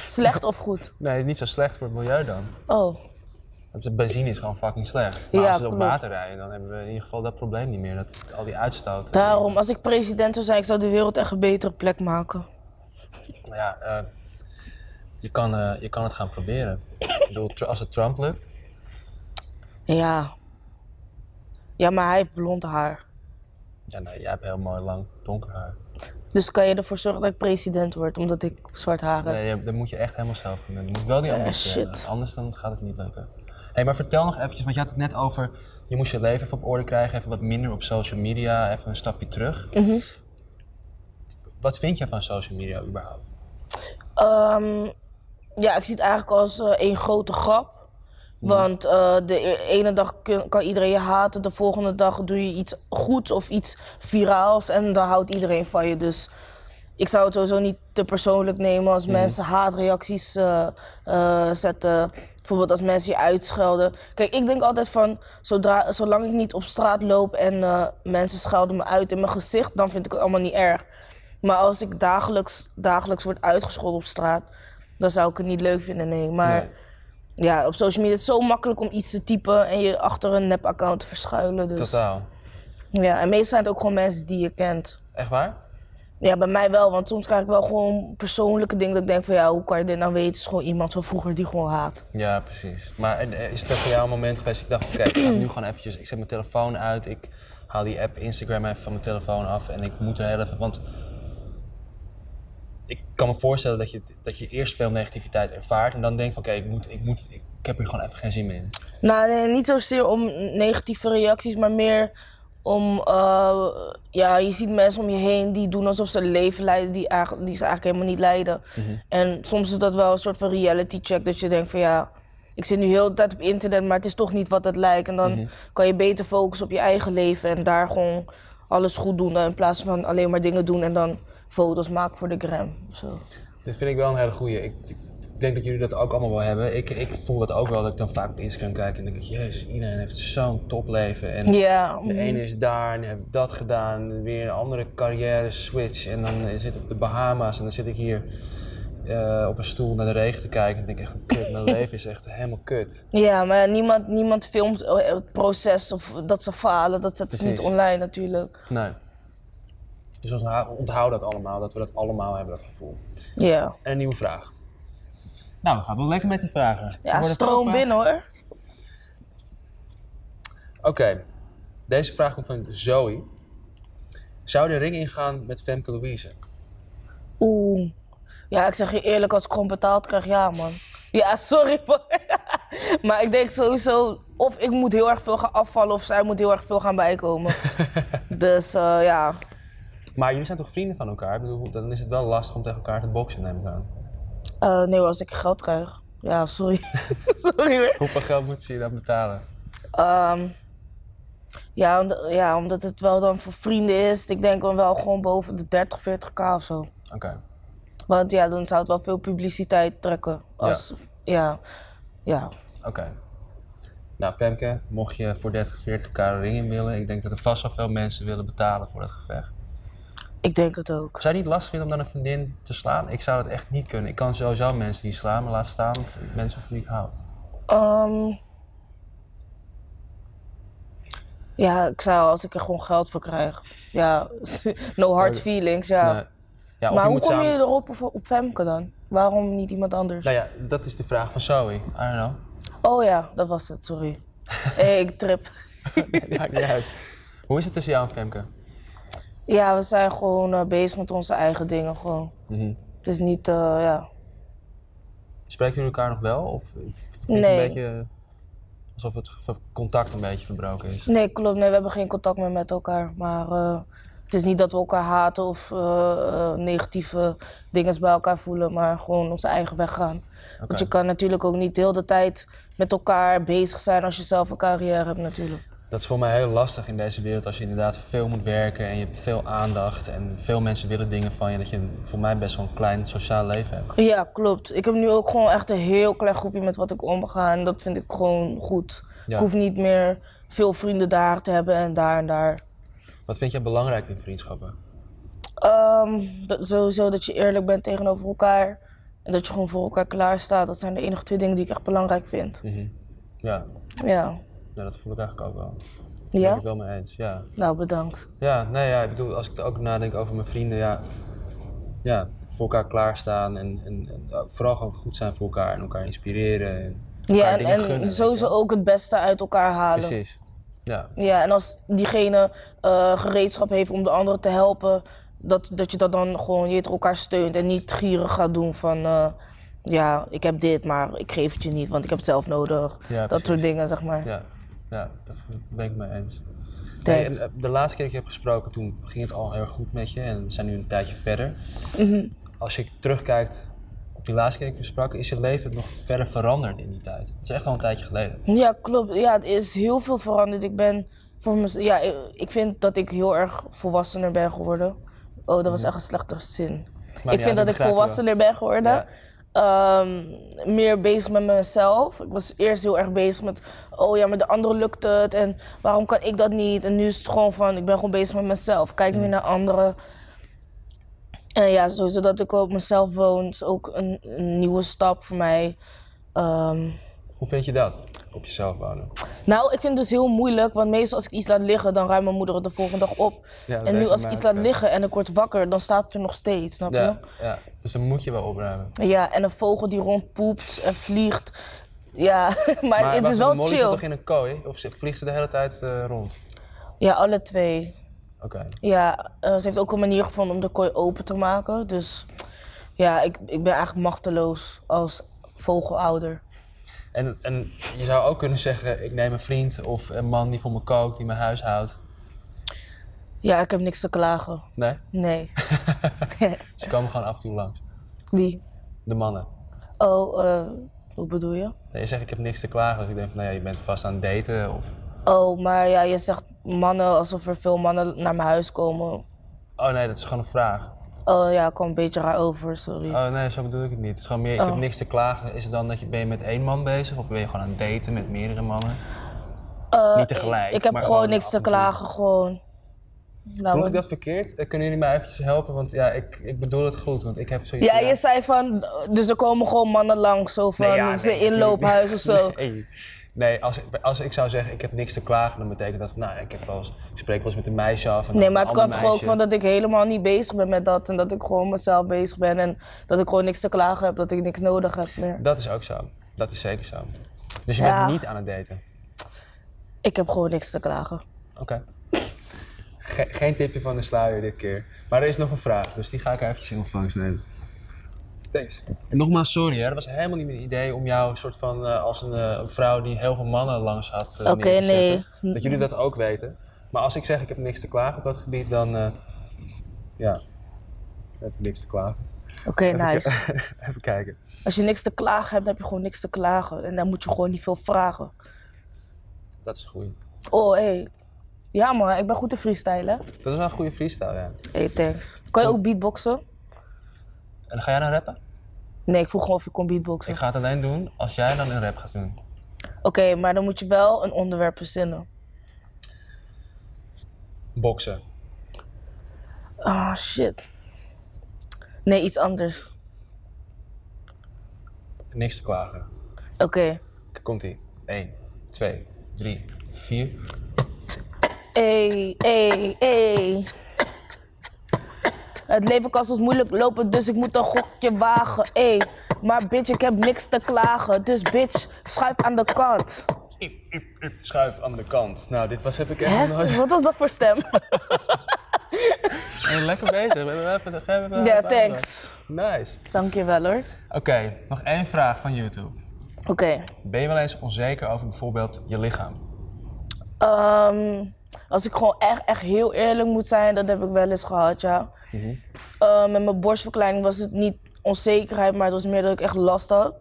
[SPEAKER 2] Slecht of goed?
[SPEAKER 3] Nee, niet zo slecht voor het milieu dan.
[SPEAKER 2] Oh,
[SPEAKER 3] Want de benzine is gewoon fucking slecht. Maar
[SPEAKER 2] Ja,
[SPEAKER 3] als we op
[SPEAKER 2] klopt.
[SPEAKER 3] water rijden, dan hebben we in ieder geval dat probleem niet meer. Dat al die uitstoot.
[SPEAKER 2] daarom. Als ik president zou zijn, ik zou de wereld echt een betere plek maken.
[SPEAKER 3] Ja, eh, je, kan, eh, je kan het gaan proberen. ik bedoel, tr- als het Trump lukt.
[SPEAKER 2] Ja. Ja, maar hij heeft blond haar.
[SPEAKER 3] Ja, nee, jij hebt heel mooi lang donker haar.
[SPEAKER 2] Dus kan je ervoor zorgen dat ik president word, omdat ik zwart haar heb?
[SPEAKER 3] Nee, je- dat moet je echt helemaal zelf gaan doen. Je moet wel die ambitie
[SPEAKER 2] Eh, shit.
[SPEAKER 3] hebben, anders dan gaat het niet lukken. hey, maar vertel nog eventjes, want je had het net over... je moest je leven even op orde krijgen, even wat minder op social media, even een stapje terug.
[SPEAKER 2] Mhm.
[SPEAKER 3] Wat vind je van social media überhaupt?
[SPEAKER 2] Ehm, ja, ik zie het eigenlijk als eh, één grote grap. Want eh, de e- ene dag kun- kan iedereen je haten, de volgende dag doe je iets goeds of iets viraals en dan houdt iedereen van je. Dus ik zou het sowieso niet te persoonlijk nemen als mensen haatreacties eh, eh, zetten. Bijvoorbeeld als mensen je uitschelden. Kijk, ik denk altijd van, zodra, zolang ik niet op straat loop en eh, mensen schelden me uit in mijn gezicht, dan vind ik het allemaal niet erg. Maar als ik dagelijks, dagelijks word uitgescholden op straat, dan zou ik het niet leuk vinden, nee. Maar
[SPEAKER 3] Nee.
[SPEAKER 2] ja, op social media is het zo makkelijk om iets te typen en je achter een nep-account te verschuilen. Dus,
[SPEAKER 3] Totaal.
[SPEAKER 2] ja, en meestal zijn het ook gewoon mensen die je kent.
[SPEAKER 3] Echt waar?
[SPEAKER 2] Ja, bij mij wel, want soms krijg ik wel gewoon persoonlijke dingen dat ik denk van ja, hoe kan je dit nou weten? Het is gewoon iemand van vroeger die gewoon haat.
[SPEAKER 3] Ja, precies. Maar en, eh, is het er voor jou een moment geweest dat je dacht, oké, ik ga nu gewoon eventjes, ik zet mijn telefoon uit, ik haal die app Instagram even van mijn telefoon af en ik moet er heel even, want ik kan me voorstellen dat je, dat je eerst veel negativiteit ervaart en dan denkt van, oké, ik moet, ik moet, ik, ik heb hier gewoon even geen zin meer in.
[SPEAKER 2] Nou, nee, niet zozeer om negatieve reacties, maar meer om, eh, ja, je ziet mensen om je heen die doen alsof ze een leven leiden die, eigenlijk- die ze eigenlijk helemaal niet leiden. En soms is dat wel een soort van reality check, dat je denkt van ja, ik zit nu heel de tijd op internet, maar het is toch niet wat het lijkt. En dan kan je beter focussen op je eigen leven en daar gewoon alles goed doen, in plaats van alleen maar dingen doen en dan foto's maken voor de gram. of Zo.
[SPEAKER 3] Dit vind ik wel een hele goeie. Ik, ik denk dat jullie dat ook allemaal wel hebben. Ik, ik voel dat ook wel, dat ik dan vaak op Instagram kijk en denk ik, jezus, iedereen heeft zo'n topleven en
[SPEAKER 2] Ja,
[SPEAKER 3] De ene is daar en die heeft dat gedaan. en Weer een andere carrière switch. En dan eh, zit ik op de Bahama's en dan zit ik hier eh, op een stoel naar de regen te kijken. En denk ik echt, kut, [laughs] mijn leven is echt helemaal kut.
[SPEAKER 2] Ja, maar niemand, niemand filmt eh, het proces of dat ze falen. Dat zetten ze niet
[SPEAKER 3] Precies.
[SPEAKER 2] online natuurlijk.
[SPEAKER 3] Nee. Dus ontha- onthoud dat allemaal, dat we dat allemaal hebben, dat gevoel.
[SPEAKER 2] Ja,
[SPEAKER 3] En een nieuwe vraag. Nou, we gaan wel lekker met die vragen. Er
[SPEAKER 2] ja
[SPEAKER 3] worden
[SPEAKER 2] stroom
[SPEAKER 3] veel
[SPEAKER 2] binnen hoor.
[SPEAKER 3] vragen. Oké, deze vraag komt van Zoe. Zou de ring ingaan met Femke Louise?
[SPEAKER 2] Oeh. Ja, ik zeg je eerlijk, als ik gewoon betaald krijg, ja man. Ja, sorry [laughs] man. maar ik denk sowieso, of ik moet heel erg veel gaan afvallen, of zij moet heel erg veel gaan bijkomen. dus eh, ja.
[SPEAKER 3] Maar jullie zijn toch vrienden van elkaar? Ik bedoel, dan is het wel lastig om tegen elkaar te boksen, neem ik aan.
[SPEAKER 2] Eh, nee, als ik geld krijg. Ja, sorry. [laughs] sorry hoor.
[SPEAKER 3] Hoeveel geld moet ze je dan betalen?
[SPEAKER 2] Ehm, ja, omdat, ja, omdat het wel dan voor vrienden is. Ik denk dan wel gewoon boven de 30, 40k of zo.
[SPEAKER 3] Oké.
[SPEAKER 2] Want ja, dan zou het wel veel publiciteit trekken. Als, ja. ja.
[SPEAKER 3] Oké. Nou, Femke, mocht je voor 30, 40 k een ring in willen, ik denk dat er vast wel veel mensen willen betalen voor dat gevecht.
[SPEAKER 2] ik denk het ook.
[SPEAKER 3] Zou je het niet lastig vinden om dan een vriendin te slaan? Ik zou dat echt niet kunnen. Ik kan sowieso mensen niet slaan, maar laat staan mensen van wie ik hou.
[SPEAKER 2] Ehm, ja, ik zou als ik er gewoon geld voor krijg. Ja, [laughs] no hard feelings, ja.
[SPEAKER 3] Nee. Ja, of
[SPEAKER 2] maar
[SPEAKER 3] je
[SPEAKER 2] hoe
[SPEAKER 3] moet
[SPEAKER 2] kom
[SPEAKER 3] samen...
[SPEAKER 2] je erop op, op Femke dan? Waarom niet iemand anders?
[SPEAKER 3] Nou ja, dat is de vraag van Zoe. I don't know. [laughs]
[SPEAKER 2] Oh ja, dat was het, sorry. hey, ik trip.
[SPEAKER 3] Maakt niet uit. Hoe is het tussen jou en Femke?
[SPEAKER 2] Ja, we zijn gewoon eh, bezig met onze eigen dingen gewoon.
[SPEAKER 3] Mhm.
[SPEAKER 2] Het is niet, eh, ja.
[SPEAKER 3] Spreken jullie elkaar nog wel? Of het klinkt
[SPEAKER 2] Nee.
[SPEAKER 3] een beetje alsof het ver- contact een beetje verbroken is?
[SPEAKER 2] Nee, klopt. Nee, we hebben geen contact meer met elkaar. Maar eh, het is niet dat we elkaar haten of eh, eh, negatieve dingen bij elkaar voelen, maar gewoon onze eigen weg gaan. Want je kan natuurlijk ook niet de hele tijd met elkaar bezig zijn als je zelf een carrière hebt natuurlijk.
[SPEAKER 3] Dat is voor mij heel lastig in deze wereld als je inderdaad veel moet werken en je hebt veel aandacht en veel mensen willen dingen van je. Dat je voor mij best wel een klein sociaal leven hebt.
[SPEAKER 2] Ja, klopt. Ik heb nu ook gewoon echt een heel klein groepje met wat ik omga en dat vind ik gewoon goed.
[SPEAKER 3] Ja.
[SPEAKER 2] Ik hoef niet meer veel vrienden daar te hebben en daar en daar.
[SPEAKER 3] Wat vind jij belangrijk in vriendschappen?
[SPEAKER 2] Ehm, dat, sowieso dat je eerlijk bent tegenover elkaar. En dat je gewoon voor elkaar klaarstaat. Dat zijn de enige twee dingen die ik echt belangrijk vind.
[SPEAKER 3] Mhm. Ja,
[SPEAKER 2] Ja.
[SPEAKER 3] ja dat voel ik eigenlijk ook wel. Daar ben ik
[SPEAKER 2] Ja?
[SPEAKER 3] het wel mee eens. Ja.
[SPEAKER 2] Nou, bedankt.
[SPEAKER 3] Ja, nee, ja, ik bedoel, als ik ook nadenk over mijn vrienden, ja, ja voor elkaar klaarstaan en, en, en ja, vooral gewoon goed zijn voor elkaar en elkaar inspireren. En elkaar
[SPEAKER 2] Ja, en,
[SPEAKER 3] dingen gunnen,
[SPEAKER 2] en
[SPEAKER 3] weet
[SPEAKER 2] sowieso
[SPEAKER 3] je wel.
[SPEAKER 2] ook het beste uit elkaar halen.
[SPEAKER 3] Precies. Ja,
[SPEAKER 2] Ja, en als diegene eh, gereedschap heeft om de andere te helpen, dat, dat je dat dan gewoon je weet, elkaar steunt en niet gierig gaat doen van eh, ja, ik heb dit, maar ik geef het je niet, want ik heb het zelf nodig.
[SPEAKER 3] Ja,
[SPEAKER 2] dat soort
[SPEAKER 3] precies.
[SPEAKER 2] dingen, zeg maar.
[SPEAKER 3] ja, ja, dat ben ik mee eens. Hey,
[SPEAKER 2] Thanks.
[SPEAKER 3] en, eh, de laatste keer dat ik je heb gesproken, toen ging het al heel erg goed met je en we zijn nu een tijdje verder.
[SPEAKER 2] Mhm.
[SPEAKER 3] Als je terugkijkt op die laatste keer dat ik je sprak, is je leven nog verder veranderd in die tijd? Het is echt al een tijdje geleden.
[SPEAKER 2] Ja, klopt. Ja, het is heel veel veranderd. Ik ben voor mez- ja, ik- ik vind dat ik heel erg volwassener ben geworden. Oh, dat was echt een slechte zin.
[SPEAKER 3] Mhm. Maar
[SPEAKER 2] ik
[SPEAKER 3] ja,
[SPEAKER 2] vind
[SPEAKER 3] dat
[SPEAKER 2] dat ik
[SPEAKER 3] begrijp je wel.
[SPEAKER 2] volwassener ben geworden.
[SPEAKER 3] Ja.
[SPEAKER 2] Ehm, meer bezig met mezelf. Ik was eerst heel erg bezig met, oh ja, maar de anderen lukt het en waarom kan ik dat niet? En nu is het gewoon van, ik ben gewoon bezig met mezelf. Kijk
[SPEAKER 3] Mhm.
[SPEAKER 2] nu naar anderen. En ja, sowieso dat ik op mezelf woon is ook een, een nieuwe stap voor mij. Ehm,
[SPEAKER 3] Hoe vind je dat, op jezelf wonen?
[SPEAKER 2] nou, ik vind het dus heel moeilijk, want meestal als ik iets laat liggen, dan ruimt mijn moeder het de volgende dag op.
[SPEAKER 3] Ja, dat
[SPEAKER 2] en nu
[SPEAKER 3] is
[SPEAKER 2] als ik
[SPEAKER 3] mij
[SPEAKER 2] iets
[SPEAKER 3] ook,
[SPEAKER 2] laat
[SPEAKER 3] ja.
[SPEAKER 2] liggen en ik word wakker, dan staat het er nog steeds, snap
[SPEAKER 3] Ja, ja, dus dan moet je wel opruimen.
[SPEAKER 2] je? Ja, en een vogel die rondpoept en vliegt. Ja, [laughs] maar, het
[SPEAKER 3] wacht,
[SPEAKER 2] is
[SPEAKER 3] de
[SPEAKER 2] wel
[SPEAKER 3] mol zit
[SPEAKER 2] chill.
[SPEAKER 3] toch in een kooi? Of ze- vliegt ze de hele tijd eh, rond?
[SPEAKER 2] Ja, alle twee.
[SPEAKER 3] Oké.
[SPEAKER 2] Ja, eh, ze heeft ook een manier gevonden om de kooi open te maken. Dus ja, ik, ik ben eigenlijk machteloos als vogelouder.
[SPEAKER 3] En, en je zou ook kunnen zeggen, ik neem een vriend of een man die voor me kookt, die mijn huis houdt.
[SPEAKER 2] Ja, ik heb niks te klagen.
[SPEAKER 3] Nee, [laughs]
[SPEAKER 2] Nee. [laughs]
[SPEAKER 3] ze komen gewoon af en toe langs.
[SPEAKER 2] Wie?
[SPEAKER 3] De mannen.
[SPEAKER 2] Oh, eh, hoe bedoel je?
[SPEAKER 3] Nee, je zegt, ik heb niks te klagen. Dus ik denk van, nou ja, je bent vast aan het daten of...
[SPEAKER 2] Oh, maar ja, je zegt mannen alsof er veel mannen naar mijn huis komen.
[SPEAKER 3] Oh nee, dat is gewoon een vraag.
[SPEAKER 2] Oh ja, ik kwam een beetje raar over, sorry.
[SPEAKER 3] Oh nee, zo bedoel ik het niet. Het is gewoon meer, ik
[SPEAKER 2] Oh.
[SPEAKER 3] heb niks te klagen. Is het dan dat je, ben je met één man bezig of ben je gewoon aan het daten met meerdere mannen? niet tegelijk,
[SPEAKER 2] Eh, ik heb
[SPEAKER 3] maar
[SPEAKER 2] gewoon
[SPEAKER 3] gewoon
[SPEAKER 2] niks
[SPEAKER 3] af
[SPEAKER 2] te
[SPEAKER 3] en toe.
[SPEAKER 2] klagen, gewoon. Nou,
[SPEAKER 3] Voel ik dat verkeerd? Eh, Kunnen jullie mij eventjes helpen? Want ja, ik, ik bedoel het goed, want ik heb zoiets
[SPEAKER 2] Ja,
[SPEAKER 3] van,
[SPEAKER 2] je zei van, dus er komen gewoon mannen langs, zo van
[SPEAKER 3] Nee, ja, nee,
[SPEAKER 2] zijn
[SPEAKER 3] natuurlijk
[SPEAKER 2] inloophuis of zo.
[SPEAKER 3] [laughs] Nee. Nee, als, ik- als ik zou zeggen ik heb niks te klagen, dan betekent dat van, nou, ik, heb wel eens, ik spreek wel eens met een meisje af. en
[SPEAKER 2] Nee,
[SPEAKER 3] een
[SPEAKER 2] maar het
[SPEAKER 3] ander
[SPEAKER 2] kan toch ook
[SPEAKER 3] meisje.
[SPEAKER 2] van dat ik helemaal niet bezig ben met dat. En dat ik gewoon mezelf bezig ben. En dat ik gewoon niks te klagen heb. Dat ik niks nodig heb meer.
[SPEAKER 3] Dat is ook zo. Dat is zeker zo. Dus je
[SPEAKER 2] Ja.
[SPEAKER 3] bent niet aan het daten.
[SPEAKER 2] Ik heb gewoon niks te klagen.
[SPEAKER 3] Oké. Ge- geen tipje van de sluier dit keer. Maar er is nog een vraag, dus die ga ik eventjes in ontvangst nemen. Thanks. En nogmaals, sorry hè, dat was helemaal niet mijn idee om jou een soort van eh, als een, eh, een vrouw die heel veel mannen langs had. eh,
[SPEAKER 2] Oké,
[SPEAKER 3] neer te zetten.
[SPEAKER 2] nee. Mm.
[SPEAKER 3] Dat jullie dat ook weten. Maar als ik zeg ik heb niks te klagen op dat gebied, dan. eh, ja. Ik heb niks te klagen. [laughs]
[SPEAKER 2] Oké, nice.
[SPEAKER 3] Even kijken.
[SPEAKER 2] Als je niks te klagen hebt, dan heb je gewoon niks te klagen. En dan moet je gewoon niet veel vragen.
[SPEAKER 3] Dat is een goeie.
[SPEAKER 2] Oh, hé. Hey. Ja man, ik ben goed in freestyle hè.
[SPEAKER 3] Dat is wel een goede freestyle, ja. En
[SPEAKER 2] Hey, thanks. Kan je ook beatboxen?
[SPEAKER 3] dan ga jij dan rappen?
[SPEAKER 2] Nee, ik vroeg gewoon of je kon beatboxen.
[SPEAKER 3] Ik ga het alleen doen als jij dan een rap gaat doen.
[SPEAKER 2] Oké, maar dan moet je wel een onderwerp verzinnen.
[SPEAKER 3] Boksen.
[SPEAKER 2] Ah, shit. Nee, iets anders.
[SPEAKER 3] Niks te klagen.
[SPEAKER 2] Oké.
[SPEAKER 3] Komt ie. 1, 2, 3, 4.
[SPEAKER 2] Ey, ey, ey. Het leven kan soms moeilijk lopen, dus ik moet een gokje wagen. Ey, maar bitch, ik heb niks te klagen. Dus bitch, schuif aan de kant.
[SPEAKER 3] Schuif aan de kant. Nou, dit was heb ik echt
[SPEAKER 2] [laughs]
[SPEAKER 3] nog
[SPEAKER 2] Hè?
[SPEAKER 3] nooit.
[SPEAKER 2] Wat was dat voor stem?
[SPEAKER 3] Hey, Oh, lekker bezig. We hebben even de geven. we
[SPEAKER 2] Ja,
[SPEAKER 3] even-
[SPEAKER 2] thanks.
[SPEAKER 3] Nice.
[SPEAKER 2] Dankjewel hoor.
[SPEAKER 3] Oké, nog één vraag van YouTube.
[SPEAKER 2] Oké.
[SPEAKER 3] Ben je wel eens onzeker over bijvoorbeeld je lichaam?
[SPEAKER 2] Ehm, als ik gewoon echt, echt heel eerlijk moet zijn, dat heb ik wel eens gehad, ja. Ehm, met mijn borstverkleining was het niet onzekerheid, maar het was meer dat ik echt last had.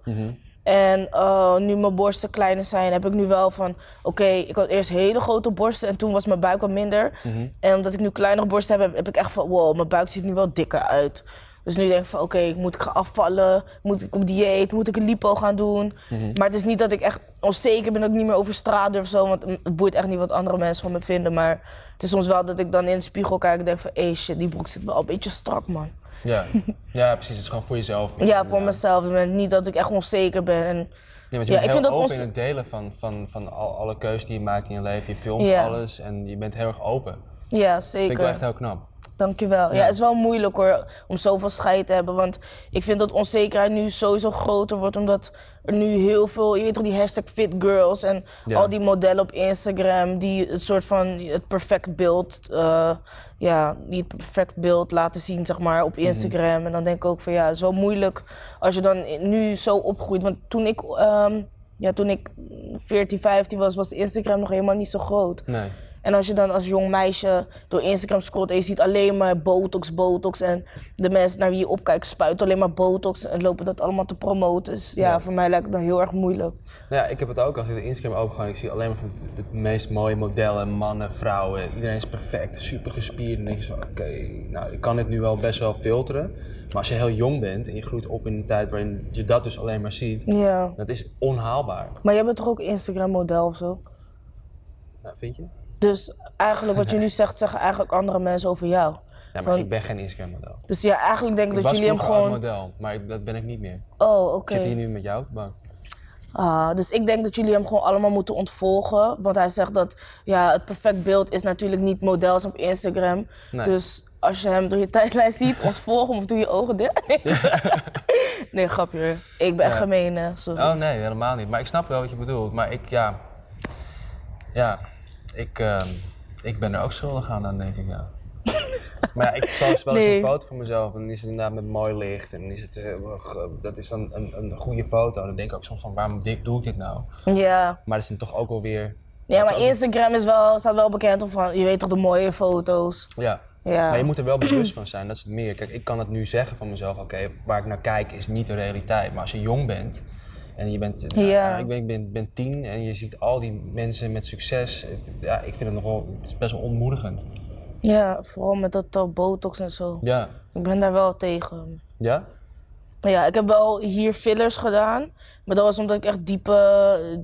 [SPEAKER 2] En eh, nu mijn borsten kleiner zijn, heb ik nu wel van... Oké, ik had eerst hele grote borsten en toen was mijn buik wat minder. En omdat ik nu kleinere borsten heb, heb, heb ik echt van... Wow, mijn buik ziet nu wel dikker uit. Dus nu denk ik van, oké, ik moet ik gaan afvallen? Moet ik op dieet? Moet ik een lipo gaan doen?
[SPEAKER 3] Mhm.
[SPEAKER 2] Maar het is niet dat ik echt onzeker ben dat ik niet meer over straat durf of zo. Want het boeit echt niet wat andere mensen van me vinden. Maar het is soms wel dat ik dan in de spiegel kijk en denk van... Hé, shit, die broek zit wel een beetje strak, man.
[SPEAKER 3] Ja, [laughs] ja precies. Het is gewoon voor jezelf.
[SPEAKER 2] Ja, voor mezelf. Ik ben niet dat ik echt onzeker ben. En,
[SPEAKER 3] Ja, want je
[SPEAKER 2] Ja,
[SPEAKER 3] bent
[SPEAKER 2] ik
[SPEAKER 3] heel
[SPEAKER 2] vind dat
[SPEAKER 3] open
[SPEAKER 2] ons-
[SPEAKER 3] in het delen van, van, van al- alle keuzes die je maakt in je leven. Je filmt
[SPEAKER 2] Ja.
[SPEAKER 3] alles en je bent heel erg open. Dat vind
[SPEAKER 2] ja,
[SPEAKER 3] ik
[SPEAKER 2] zeker.
[SPEAKER 3] wel echt heel knap.
[SPEAKER 2] Dankjewel. Ja, het is wel moeilijk hoor, om zoveel scheid te hebben. Want ik vind dat onzekerheid nu sowieso groter wordt. Omdat er nu heel veel, je weet toch, die hashtag fit girls en
[SPEAKER 3] Ja.
[SPEAKER 2] al die modellen op Instagram. Die het soort van het perfect beeld, eh, ja, die het perfect beeld laten zien, zeg maar, op Instagram. En dan denk ik ook van ja, het is wel moeilijk als je dan nu zo opgroeit. Want toen ik, ehm, ja, toen ik 14, 15 was, was Instagram nog helemaal niet zo groot.
[SPEAKER 3] Nee.
[SPEAKER 2] En als je dan als jong meisje door Instagram scrolt en je ziet alleen maar botox, botox. En de mensen naar wie je opkijkt spuiten alleen maar botox en lopen dat allemaal te promoten. Dus ja,
[SPEAKER 3] Ja.
[SPEAKER 2] voor mij lijkt het dan heel erg moeilijk.
[SPEAKER 3] Nou ja, ik heb het ook. Als ik de Instagram openga, ik zie alleen maar van de meest mooie modellen, mannen, vrouwen. Iedereen is perfect, super gespierd. En dan denk je van, oké, nou, ik kan dit nu wel best wel filteren. Maar als je heel jong bent en je groeit op in een tijd waarin je dat dus alleen maar ziet,
[SPEAKER 2] Ja.
[SPEAKER 3] dat is onhaalbaar.
[SPEAKER 2] Maar jij bent toch ook Instagram-model of zo?
[SPEAKER 3] Nou, vind je? Ja,
[SPEAKER 2] Dus eigenlijk wat je
[SPEAKER 3] [laughs]
[SPEAKER 2] nu zegt, zeggen eigenlijk andere mensen over jou.
[SPEAKER 3] maar
[SPEAKER 2] Van-
[SPEAKER 3] ik ben geen Instagram-model.
[SPEAKER 2] Dus ja, eigenlijk denk ik
[SPEAKER 3] Ik
[SPEAKER 2] dat
[SPEAKER 3] was
[SPEAKER 2] jullie hem
[SPEAKER 3] vroeger
[SPEAKER 2] gewoon.
[SPEAKER 3] een model, maar ik- dat ben ik niet meer.
[SPEAKER 2] Oh, oké.
[SPEAKER 3] Ik zit hier nu met jou te bank.
[SPEAKER 2] Ah, dus ik denk dat jullie hem gewoon allemaal moeten ontvolgen. Want hij zegt dat ja, het perfect beeld is natuurlijk niet models op Instagram.
[SPEAKER 3] Nee.
[SPEAKER 2] Dus als je hem door je tijdlijn ziet, ontvolg hem of doe je ogen
[SPEAKER 3] [laughs]
[SPEAKER 2] dicht. nee, grapje. hoor. Ik ben echt gemeen, hè. sorry.
[SPEAKER 3] Oh nee, helemaal niet. Maar ik snap wel wat je bedoelt. Maar ik, ja... Ja, ik, ehm, ik ben er ook schuldig aan dan, denk ik, ja. maar ja, ik post wel eens
[SPEAKER 2] Nee.
[SPEAKER 3] een foto van mezelf en dan is het inderdaad met mooi licht. En is het, eh, wel ge- dat is dan een, een goede foto. Dan denk ik ook soms van, waarom di- doe ik dit nou?
[SPEAKER 2] Ja.
[SPEAKER 3] Maar dat is dan toch ook alweer...
[SPEAKER 2] ja, maar Instagram is wel, staat wel bekend om van, je weet toch, de mooie foto's.
[SPEAKER 3] Ja.
[SPEAKER 2] Ja.
[SPEAKER 3] Maar je moet er wel bewust van zijn, dat is het meer. Kijk, ik kan het nu zeggen van mezelf, oké, waar ik naar kijk is niet de realiteit. Maar als je jong bent en je bent, nou,
[SPEAKER 2] Ja.
[SPEAKER 3] ik ben, ik ben, ben tien en je ziet al die mensen met succes. eh, Ja, ik vind het nog wel het is best wel ontmoedigend.
[SPEAKER 2] Ja, vooral met dat eh, botox en zo.
[SPEAKER 3] Ja.
[SPEAKER 2] Ik ben daar wel tegen.
[SPEAKER 3] Ja?
[SPEAKER 2] Nou ja, ik heb wel hier fillers gedaan. Maar dat was omdat ik echt diepe,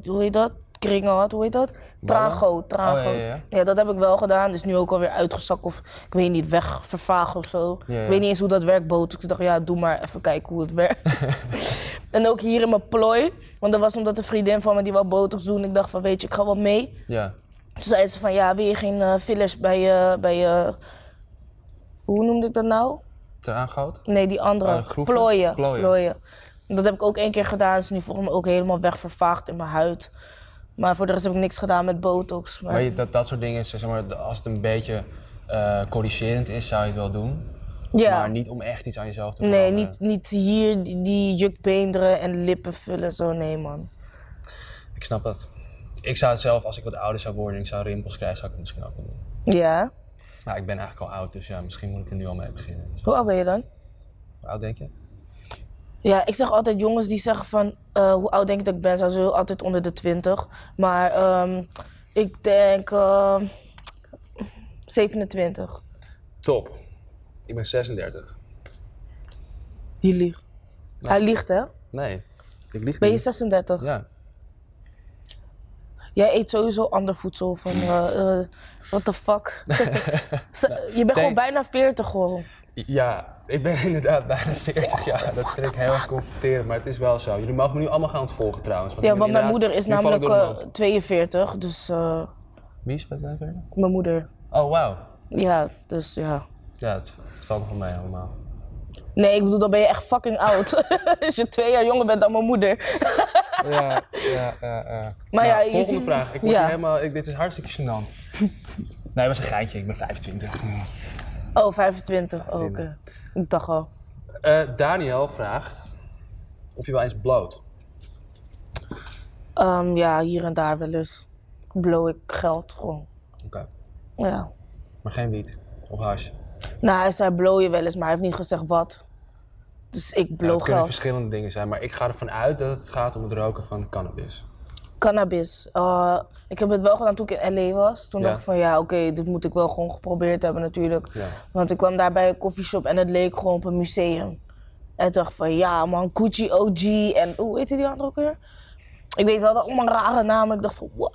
[SPEAKER 2] eh, hoe heet dat? kringen had, hoe heet dat? Trago, trago. Nou
[SPEAKER 3] Oh, ja, ja, ja.
[SPEAKER 2] dat heb ik wel gedaan. Dus nu ook alweer uitgezakt of ik weet niet, wegvervagen of zo.
[SPEAKER 3] Ja, ja.
[SPEAKER 2] Ik weet niet eens hoe dat werkt, boot. Dus ik dacht, ja, doe maar even kijken hoe het werkt.
[SPEAKER 3] [laughs]
[SPEAKER 2] [laughs] en ook hier in mijn plooi. Want dat was omdat een vriendin van me die wel botox doen. Ik dacht van, weet je, ik ga wel mee.
[SPEAKER 3] Ja.
[SPEAKER 2] Toen zei ze van, ja, wil je geen eh, fillers bij je... bij je hoe noemde ik dat nou?
[SPEAKER 3] Ter aangehoud?
[SPEAKER 2] Nee, die andere.
[SPEAKER 3] Ah, groeven?
[SPEAKER 2] plooien.
[SPEAKER 3] Plooien.
[SPEAKER 2] plooien. Dat heb ik ook één keer gedaan. Is nu volgens mij ook helemaal wegvervaagd in mijn huid. Maar voor de rest heb ik niks gedaan met botox. Maar,
[SPEAKER 3] Maar je, dat, dat soort dingen, zeg maar, als het een beetje eh, corrigerend is, zou je het wel doen.
[SPEAKER 2] ja.
[SPEAKER 3] Maar niet om echt iets aan jezelf te
[SPEAKER 2] nee,
[SPEAKER 3] veranderen.
[SPEAKER 2] niet, niet hier die- die jukbeenderen en lippen vullen. Zo, nee man.
[SPEAKER 3] Ik snap dat. Ik zou het zelf, als ik wat ouder zou worden en ik zou rimpels krijgen, zou ik het misschien ook wel doen.
[SPEAKER 2] Ja.
[SPEAKER 3] Nou, ik ben eigenlijk al oud, dus ja, misschien moet ik er nu al mee beginnen. Dus,
[SPEAKER 2] Hoe oud ben je dan?
[SPEAKER 3] hoe oud denk je?
[SPEAKER 2] Ja, ik zeg altijd jongens die zeggen van eh, hoe oud denk ik dat ik ben, zijn ze altijd onder de 20. Maar ehm, ik denk ehm, 27.
[SPEAKER 3] Top. Ik ben 36.
[SPEAKER 2] Je liegt. Hij liegt hè?
[SPEAKER 3] Nee, ik lieg
[SPEAKER 2] Ben je 36?
[SPEAKER 3] Ja.
[SPEAKER 2] Jij eet sowieso ander voedsel van,
[SPEAKER 3] Mm.
[SPEAKER 2] eh eh what the
[SPEAKER 3] [laughs]
[SPEAKER 2] fuck. Ze- je bent
[SPEAKER 3] Denk-
[SPEAKER 2] gewoon bijna 40 gewoon.
[SPEAKER 3] Ja, ik ben [laughs] inderdaad bijna 40 jaar. Dat vind ik heel erg confronterend, maar het is wel zo. Jullie mogen me nu allemaal gaan ontvolgen trouwens.
[SPEAKER 2] Ja,
[SPEAKER 3] ik ben
[SPEAKER 2] want mijn
[SPEAKER 3] inderdaad-
[SPEAKER 2] moeder is
[SPEAKER 3] nu val ik
[SPEAKER 2] namelijk
[SPEAKER 3] door de
[SPEAKER 2] eh,
[SPEAKER 3] mand.
[SPEAKER 2] 42, dus eh,
[SPEAKER 3] Wie is dat verder?
[SPEAKER 2] mijn moeder.
[SPEAKER 3] Oh, wauw.
[SPEAKER 2] Ja, dus ja.
[SPEAKER 3] Ja, het, het valt nog wel mee allemaal.
[SPEAKER 2] Nee, ik bedoel, dan ben je echt fucking oud. [laughs] Als je twee jaar jonger bent dan mijn moeder.
[SPEAKER 3] Ja, ja, ja. ja. Nou,
[SPEAKER 2] Maar Ah, ja, je
[SPEAKER 3] volgende
[SPEAKER 2] ziet-
[SPEAKER 3] vraag. Ik word
[SPEAKER 2] Ja.
[SPEAKER 3] hier helemaal, ik, dit is hartstikke gênant. Nee, was een geintje. Ik ben 25.
[SPEAKER 2] Oh, 25. Oh, Oké. Ik dacht al.
[SPEAKER 3] Eh, Daniel vraagt of je wel eens bloot.
[SPEAKER 2] Ehm, ja, hier en daar wel eens. Blow ik geld gewoon.
[SPEAKER 3] Oké.
[SPEAKER 2] Ja.
[SPEAKER 3] Maar geen wiet of hash.
[SPEAKER 2] Nou, hij zei blow je wel eens, maar hij heeft niet gezegd wat. Dus ik
[SPEAKER 3] Ja,
[SPEAKER 2] blow
[SPEAKER 3] het kunnen
[SPEAKER 2] geld.
[SPEAKER 3] verschillende dingen zijn, maar ik ga ervan uit dat het gaat om het roken van cannabis.
[SPEAKER 2] cannabis. Eh, ik heb het wel gedaan toen ik in LA was. Toen
[SPEAKER 3] Ja.
[SPEAKER 2] dacht ik van ja, oké, dit moet ik wel gewoon geprobeerd hebben natuurlijk.
[SPEAKER 3] Ja.
[SPEAKER 2] Want ik kwam daar bij een coffeeshop en het leek gewoon op een museum. En ik dacht van ja man, Gucci OG en hoe heette die andere ook weer? Ik weet wel dat allemaal rare namen. Ik dacht van wow.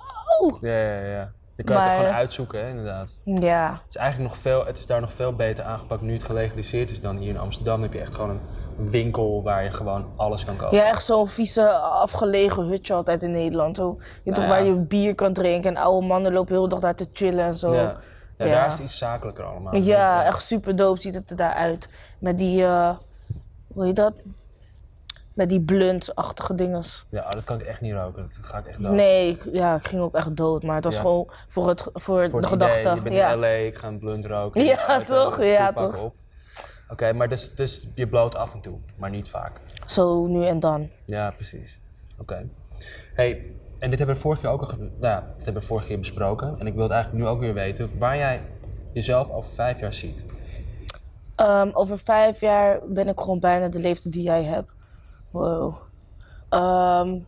[SPEAKER 3] Ja, ja, ja. Je kan het
[SPEAKER 2] Maar-
[SPEAKER 3] er gewoon uitzoeken, hè, inderdaad.
[SPEAKER 2] Ja,
[SPEAKER 3] Het is, eigenlijk nog veel, het is daar nog veel beter aangepakt nu het gelegaliseerd is dan hier in Amsterdam. Dan heb je echt gewoon een winkel waar je gewoon alles kan kopen.
[SPEAKER 2] ja echt zo'n vieze afgelegen hutje altijd in Nederland. Zo, je weet toch
[SPEAKER 3] Nou ja.
[SPEAKER 2] waar je bier kan drinken en oude mannen lopen heel de dag daar te chillen en zo.
[SPEAKER 3] Ja. Ja,
[SPEAKER 2] Ja.
[SPEAKER 3] daar is het iets zakelijker allemaal.
[SPEAKER 2] Ja,
[SPEAKER 3] eh,
[SPEAKER 2] echt super dope ziet het er daar uit. Met die, eh, hoe heet dat? Met die blunt-achtige dinges.
[SPEAKER 3] Ja, oh, dat kan ik echt niet roken. Dat ga ik echt dood.
[SPEAKER 2] Nee, ik, ja, ik ging ook echt dood, maar het was
[SPEAKER 3] Nou. Ja.
[SPEAKER 2] gewoon voor, het, voor,
[SPEAKER 3] Voor
[SPEAKER 2] de
[SPEAKER 3] het idee,
[SPEAKER 2] gedachte.
[SPEAKER 3] je bent
[SPEAKER 2] ja.
[SPEAKER 3] in LA, ik ga een blunt roken.
[SPEAKER 2] Ja,
[SPEAKER 3] Ik ga uit,
[SPEAKER 2] toch?
[SPEAKER 3] eh,
[SPEAKER 2] Ja,
[SPEAKER 3] toepak
[SPEAKER 2] toch.
[SPEAKER 3] op. Oké, maar dus, dus je bloot af en toe, maar niet vaak.
[SPEAKER 2] Zo nu en dan.
[SPEAKER 3] Ja, precies. Oké. Hey, en dit hebben we vorige keer ook al ge- nou, ja, dit hebben we vorige keer besproken. En ik wil het eigenlijk nu ook weer weten waar jij jezelf over vijf jaar ziet.
[SPEAKER 2] Ehm, over vijf jaar ben ik gewoon bijna de leeftijd die jij hebt. Wow. Ehm,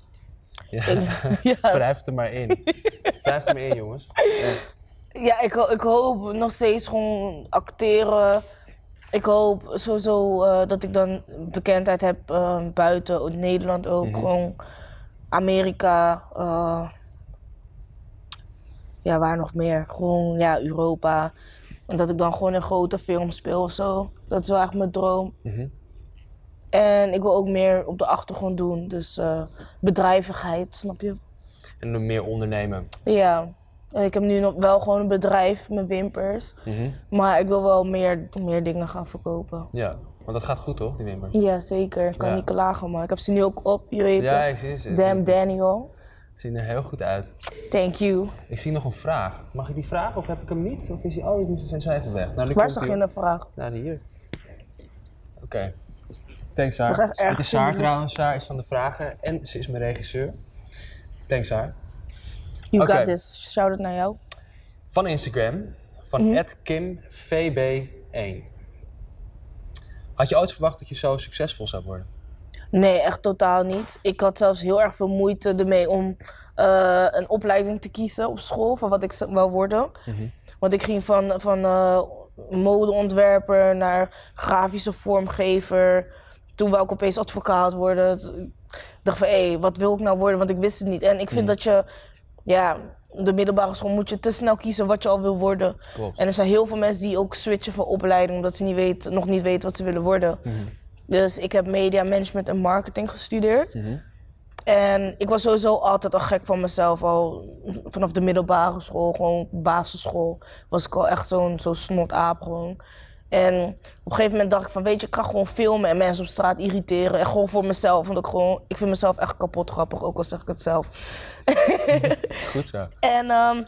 [SPEAKER 3] Ja. [laughs]
[SPEAKER 2] ja.
[SPEAKER 3] Wrijf het er maar in. Wrijf het er maar in, jongens.
[SPEAKER 2] Ja, ik, ho- ik hoop nog steeds gewoon acteren. Ik hoop sowieso eh, dat ik dan bekendheid heb eh, buiten Nederland ook. Gewoon Amerika. eh, ja, waar nog meer? Gewoon ja, Europa. En dat ik dan gewoon in grote films speel of zo. Dat is wel echt mijn droom.
[SPEAKER 3] Mhm.
[SPEAKER 2] En ik wil ook meer op de achtergrond doen. Dus eh, bedrijvigheid, snap je?
[SPEAKER 3] En nog meer ondernemen.
[SPEAKER 2] Ja. Ik heb nu nog wel gewoon een bedrijf, mijn wimpers.
[SPEAKER 3] Mhm.
[SPEAKER 2] Maar ik wil wel meer, meer dingen gaan verkopen.
[SPEAKER 3] Ja, want dat gaat goed toch, die wimpers?
[SPEAKER 2] Ja, zeker. Ik kan
[SPEAKER 3] Ja.
[SPEAKER 2] niet klagen, maar ik heb ze nu ook op, je weet
[SPEAKER 3] Ja,
[SPEAKER 2] het.
[SPEAKER 3] ik zie ze.
[SPEAKER 2] Damn
[SPEAKER 3] Ze
[SPEAKER 2] Daniel.
[SPEAKER 3] zien er heel goed uit.
[SPEAKER 2] Thank you.
[SPEAKER 3] Ik zie nog een vraag. Mag ik die vraag of heb ik hem niet? Of is die... Oh, ik moest zijn even weg. Nou, die
[SPEAKER 2] Waar
[SPEAKER 3] komt
[SPEAKER 2] zag
[SPEAKER 3] hier.
[SPEAKER 2] je een vraag?
[SPEAKER 3] Nou, die hier. Oké. Thanks,
[SPEAKER 2] Toch
[SPEAKER 3] Saar.
[SPEAKER 2] echt erg
[SPEAKER 3] Dit is Saar
[SPEAKER 2] vinden.
[SPEAKER 3] trouwens. Saar is van de vragen en ze is mijn regisseur. Thanks, Saar.
[SPEAKER 2] You
[SPEAKER 3] Oké.
[SPEAKER 2] got this. Shout out naar jou.
[SPEAKER 3] Van Instagram, van
[SPEAKER 2] Mhm.
[SPEAKER 3] @kimvb1. Had je ooit verwacht dat je zo succesvol zou worden?
[SPEAKER 2] Nee, echt totaal niet. Ik had zelfs heel erg veel moeite ermee om eh, een opleiding te kiezen op school van wat ik z- wou worden. Want ik ging van, van eh, modeontwerper naar grafische vormgever. Toen wou ik opeens advocaat worden. T- Ik dacht van, hé, wat wil ik nou worden? Want ik wist het niet. En ik vind dat je ja, op de middelbare school moet je te snel kiezen wat je al wil worden.
[SPEAKER 3] Klopt.
[SPEAKER 2] En er zijn heel veel mensen die ook switchen van opleiding omdat ze niet weten, nog niet weten wat ze willen worden. Dus ik heb media, management en marketing gestudeerd. En ik was sowieso altijd al gek van mezelf. Al vanaf de middelbare school, gewoon basisschool, was ik al echt zo'n zo snotaap gewoon. En op een gegeven moment dacht ik van, weet je, ik ga gewoon filmen en mensen op straat irriteren. En gewoon voor mezelf, want ik, gewoon, ik vind mezelf echt kapot grappig, ook al zeg ik het zelf.
[SPEAKER 3] Goed zo.
[SPEAKER 2] En ehm,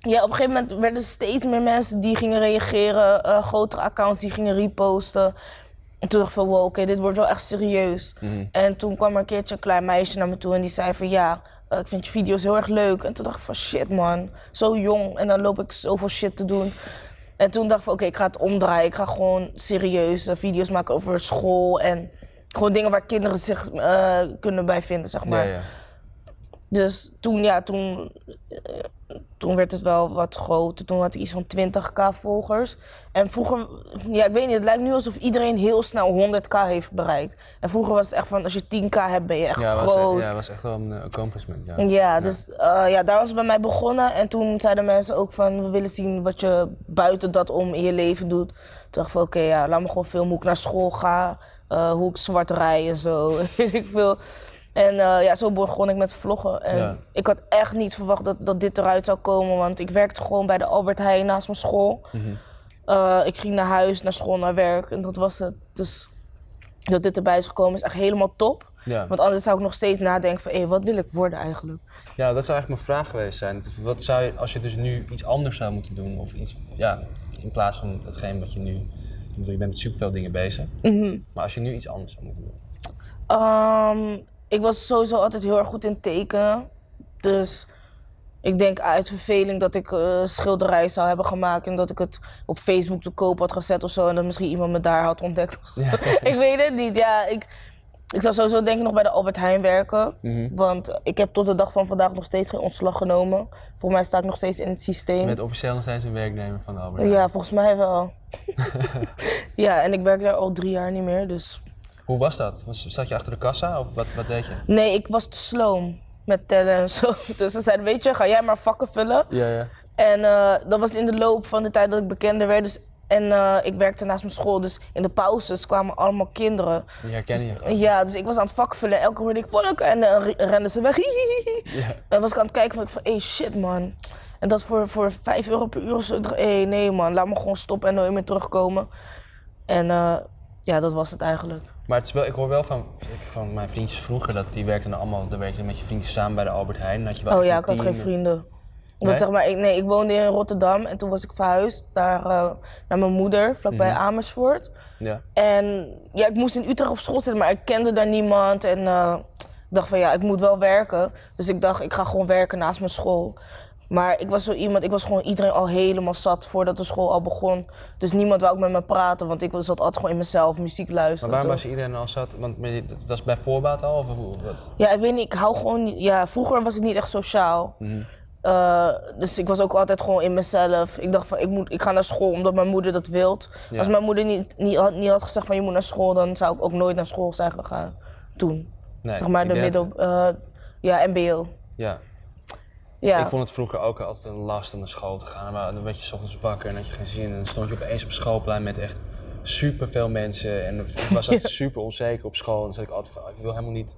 [SPEAKER 2] ja, op een gegeven moment werden er steeds meer mensen die gingen reageren, eh, grotere accounts die gingen reposten. En toen dacht ik van, wow, oké, dit wordt wel echt serieus.
[SPEAKER 3] Mhm.
[SPEAKER 2] En toen kwam er een keertje een klein meisje naar me toe en die zei van, ja, eh, ik vind je video's heel erg leuk. En toen dacht ik van, shit man, zo jong en dan loop ik zoveel shit te doen. En toen dacht ik van, oké, ik ga het omdraaien. Ik ga gewoon serieuze video's maken over school en gewoon dingen waar kinderen zich eh, kunnen bij vinden, zeg maar.
[SPEAKER 3] Ja, ja.
[SPEAKER 2] Dus toen, ja, toen, eh, toen werd het wel wat groter. Toen had ik iets van 20k volgers. En vroeger, ja, ik weet niet, het lijkt nu alsof iedereen heel snel 100k heeft bereikt. En vroeger was het echt van, als je 10k hebt, ben je echt
[SPEAKER 3] Ja, was,
[SPEAKER 2] groot.
[SPEAKER 3] e- ja, was echt wel een eh, accomplishment. Ja.
[SPEAKER 2] Ja, dus eh, ja, daar was het bij mij begonnen. En toen zeiden mensen ook van, we willen zien wat je buiten dat om in je leven doet. Toen dacht ik van, oké, ja, laat me gewoon filmen hoe ik naar school ga. eh, hoe ik zwart rij en zo, [laughs] weet ik veel. En eh, ja, zo begon ik met vloggen. En
[SPEAKER 3] Ja.
[SPEAKER 2] ik had echt niet verwacht dat, dat dit eruit zou komen. Want ik werkte gewoon bij de Albert Heijn naast mijn school.
[SPEAKER 3] Mhm.
[SPEAKER 2] Eh, ik ging naar huis, naar school, naar werk. En dat was het. Dus dat dit erbij is gekomen is echt helemaal top.
[SPEAKER 3] Ja.
[SPEAKER 2] Want anders zou ik nog steeds nadenken van, hé, wat wil ik worden eigenlijk?
[SPEAKER 3] ja, dat zou eigenlijk mijn vraag geweest zijn. Wat zou je, als je dus nu iets anders zou moeten doen, of iets, ja, in plaats van hetgeen wat je nu, ik bedoel, je bent met superveel dingen bezig.
[SPEAKER 2] Mhm.
[SPEAKER 3] Maar als je nu iets anders zou moeten doen.
[SPEAKER 2] Ehm, ik was sowieso altijd heel erg goed in tekenen. Dus ik denk uit verveling dat ik eh schilderij zou hebben gemaakt en dat ik het op Facebook te koop had gezet of zo. En dat misschien iemand me daar had ontdekt. [laughs] ik weet het niet. Ja, ik, ik zou sowieso denk ik nog bij de Albert Heijn werken. Want ik heb tot de dag van vandaag nog steeds geen ontslag genomen. Volgens mij sta ik nog steeds in het systeem.
[SPEAKER 3] Met officieel nog steeds een werknemer van de Albert Heijn.
[SPEAKER 2] Ja, volgens mij wel. [laughs] ja, en ik werk daar al drie jaar niet meer. Dus
[SPEAKER 3] Hoe was dat? Was, zat je achter de kassa of wat, wat deed je?
[SPEAKER 2] Nee, ik was te sloom met tellen en zo. [laughs] Dus ze zeiden, weet je, ga jij maar vakken vullen.
[SPEAKER 3] Ja, ja.
[SPEAKER 2] En eh, dat was in de loop van de tijd dat ik bekender werd. Dus, en eh, ik werkte naast mijn school, dus in de pauzes kwamen allemaal kinderen.
[SPEAKER 3] Die herkennen je gewoon.
[SPEAKER 2] Ja, dus ik was aan het vak vullen. Elke keer hoorde ik volk en dan re- renden ze weg. [laughs] En was ik aan het kijken van, ik van, hey, shit man. En dat voor, voor 5 euro per uur of zo. Ik dacht, hey, nee man, laat me gewoon stoppen en nooit meer terugkomen. En eh, ja, dat was het eigenlijk.
[SPEAKER 3] Maar het is wel, ik hoor wel van, ik- van mijn vriendjes vroeger dat die werkten dan allemaal, dan werkten met je vriendjes samen bij de Albert Heijn. Dan Had je wel
[SPEAKER 2] Oh
[SPEAKER 3] echt
[SPEAKER 2] ja,
[SPEAKER 3] een
[SPEAKER 2] ik had
[SPEAKER 3] team.
[SPEAKER 2] geen vrienden.
[SPEAKER 3] Nee?
[SPEAKER 2] Omdat, zeg maar, ik, nee, ik woonde in Rotterdam en toen was ik verhuisd naar, eh, naar mijn moeder, vlakbij
[SPEAKER 3] Mhm.
[SPEAKER 2] Amersfoort.
[SPEAKER 3] Ja.
[SPEAKER 2] En ja, ik moest in Utrecht op school zitten, maar ik kende daar niemand. En eh, ik dacht van ja, ik moet wel werken. Dus ik dacht, ik ga gewoon werken naast mijn school. Maar ik was zo iemand, ik was gewoon iedereen al helemaal zat voordat de school al begon. Dus niemand wou ook met me praten, want ik zat altijd gewoon in mezelf, muziek
[SPEAKER 3] Maar
[SPEAKER 2] luisteren.
[SPEAKER 3] waarom
[SPEAKER 2] en zo.
[SPEAKER 3] was iedereen al zat? Want maar je- dat was bij voorbaat al? Of hoe, wat?
[SPEAKER 2] Ja, ik weet niet, ik hou gewoon niet. Ja, vroeger was ik niet echt sociaal.
[SPEAKER 3] Mhm.
[SPEAKER 2] Eh, dus ik was ook altijd gewoon in mezelf. Ik dacht van, ik, moet, ik ga naar school omdat mijn moeder dat wilt.
[SPEAKER 3] Ja.
[SPEAKER 2] Als mijn moeder niet, niet, had, niet had gezegd van je moet naar school, dan zou ik ook nooit naar school zijn gegaan. Toen.
[SPEAKER 3] Nee,
[SPEAKER 2] zeg maar
[SPEAKER 3] ik
[SPEAKER 2] de
[SPEAKER 3] denk dat-
[SPEAKER 2] middel... eh, ja, mbo.
[SPEAKER 3] Ja.
[SPEAKER 2] Ja.
[SPEAKER 3] Ik vond het vroeger ook altijd een last om naar school te gaan. Maar dan werd je 's ochtends wakker en had je geen zin. En dan stond je opeens op schoolplein met echt superveel mensen. En ik
[SPEAKER 2] [laughs]
[SPEAKER 3] was altijd super onzeker op school. En dan zat ik altijd van, "Ah, ik wil helemaal niet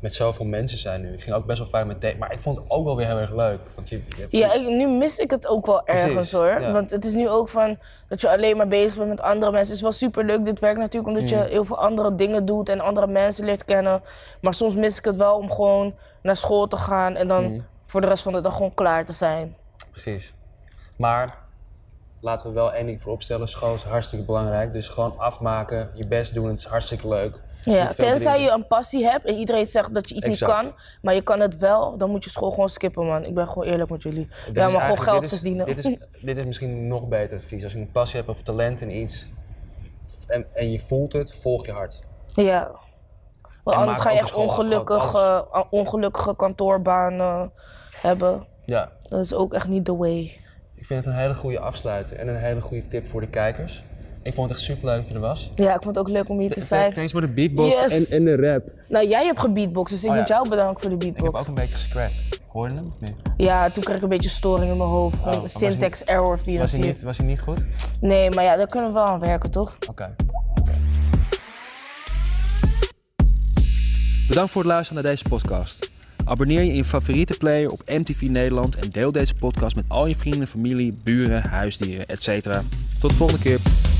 [SPEAKER 3] met zoveel mensen zijn nu. Ik ging ook best wel vaak met thee. Maar ik vond het ook wel weer heel erg leuk. Want je, je hebt-
[SPEAKER 2] Ja, ik- nu mis ik het ook wel
[SPEAKER 3] Precies,
[SPEAKER 2] ergens hoor.
[SPEAKER 3] ja.
[SPEAKER 2] Want het is nu ook van dat je alleen maar bezig bent met andere mensen. Het is wel super leuk, dit werkt natuurlijk, omdat
[SPEAKER 3] Mm.
[SPEAKER 2] je heel veel andere dingen doet en andere mensen leert kennen. Maar soms mis ik het wel om gewoon naar school te gaan en dan
[SPEAKER 3] Mm.
[SPEAKER 2] voor de rest van de dag gewoon klaar te zijn.
[SPEAKER 3] Precies. Maar laten we wel één ding vooropstellen. School is hartstikke belangrijk. Dus gewoon afmaken, je best doen. Het is hartstikke leuk.
[SPEAKER 2] Ja,
[SPEAKER 3] Niet veel
[SPEAKER 2] tenzij
[SPEAKER 3] drinken.
[SPEAKER 2] je een passie hebt en iedereen zegt dat je iets
[SPEAKER 3] Exact.
[SPEAKER 2] niet kan, maar je kan het wel, dan moet je school gewoon skippen, man. Ik ben gewoon eerlijk met jullie. ja,
[SPEAKER 3] Dit is
[SPEAKER 2] maar gewoon
[SPEAKER 3] Dus eigenlijk-
[SPEAKER 2] geld
[SPEAKER 3] dit is-
[SPEAKER 2] verdienen.
[SPEAKER 3] Dit is,
[SPEAKER 2] [laughs]
[SPEAKER 3] dit is misschien nog beter advies. Als je een passie hebt of talent in iets en, en je voelt het, volg je hart.
[SPEAKER 2] Ja. Want
[SPEAKER 3] En
[SPEAKER 2] anders
[SPEAKER 3] maak
[SPEAKER 2] ga je
[SPEAKER 3] ook
[SPEAKER 2] echt
[SPEAKER 3] school af,
[SPEAKER 2] ongelukkig,
[SPEAKER 3] alles.
[SPEAKER 2] eh, ongelukkige kantoorbanen hebben.
[SPEAKER 3] Ja.
[SPEAKER 2] Dat is ook echt niet the way.
[SPEAKER 3] Ik vind het een hele goede afsluiter en een hele goede tip voor de kijkers. Ik vond het echt super leuk dat je er was.
[SPEAKER 2] Ja, ik vond het ook leuk om hier te zijn.
[SPEAKER 1] Thanks voor de beatbox
[SPEAKER 2] Yes.
[SPEAKER 1] en, en de rap.
[SPEAKER 2] Nou, jij hebt gebeatboxd, dus ik
[SPEAKER 3] Oh ja.
[SPEAKER 2] moet jou bedanken voor de
[SPEAKER 3] Ik heb
[SPEAKER 2] beatbox.
[SPEAKER 3] ook een beetje gescratched. Hoor je hem? of niet?
[SPEAKER 2] Ja, toen kreeg ik een beetje storing in mijn hoofd. Gewoon
[SPEAKER 3] was hij
[SPEAKER 2] syntax error 4
[SPEAKER 3] Was hij niet, was hij niet goed? Oké.
[SPEAKER 2] Nee, maar ja, daar kunnen we wel aan werken, toch?
[SPEAKER 1] Bedankt voor het luisteren naar deze podcast. Abonneer je in je favoriete player op MTV Nederland en deel deze podcast met al je vrienden, familie, buren, huisdieren, etc. Tot de volgende keer.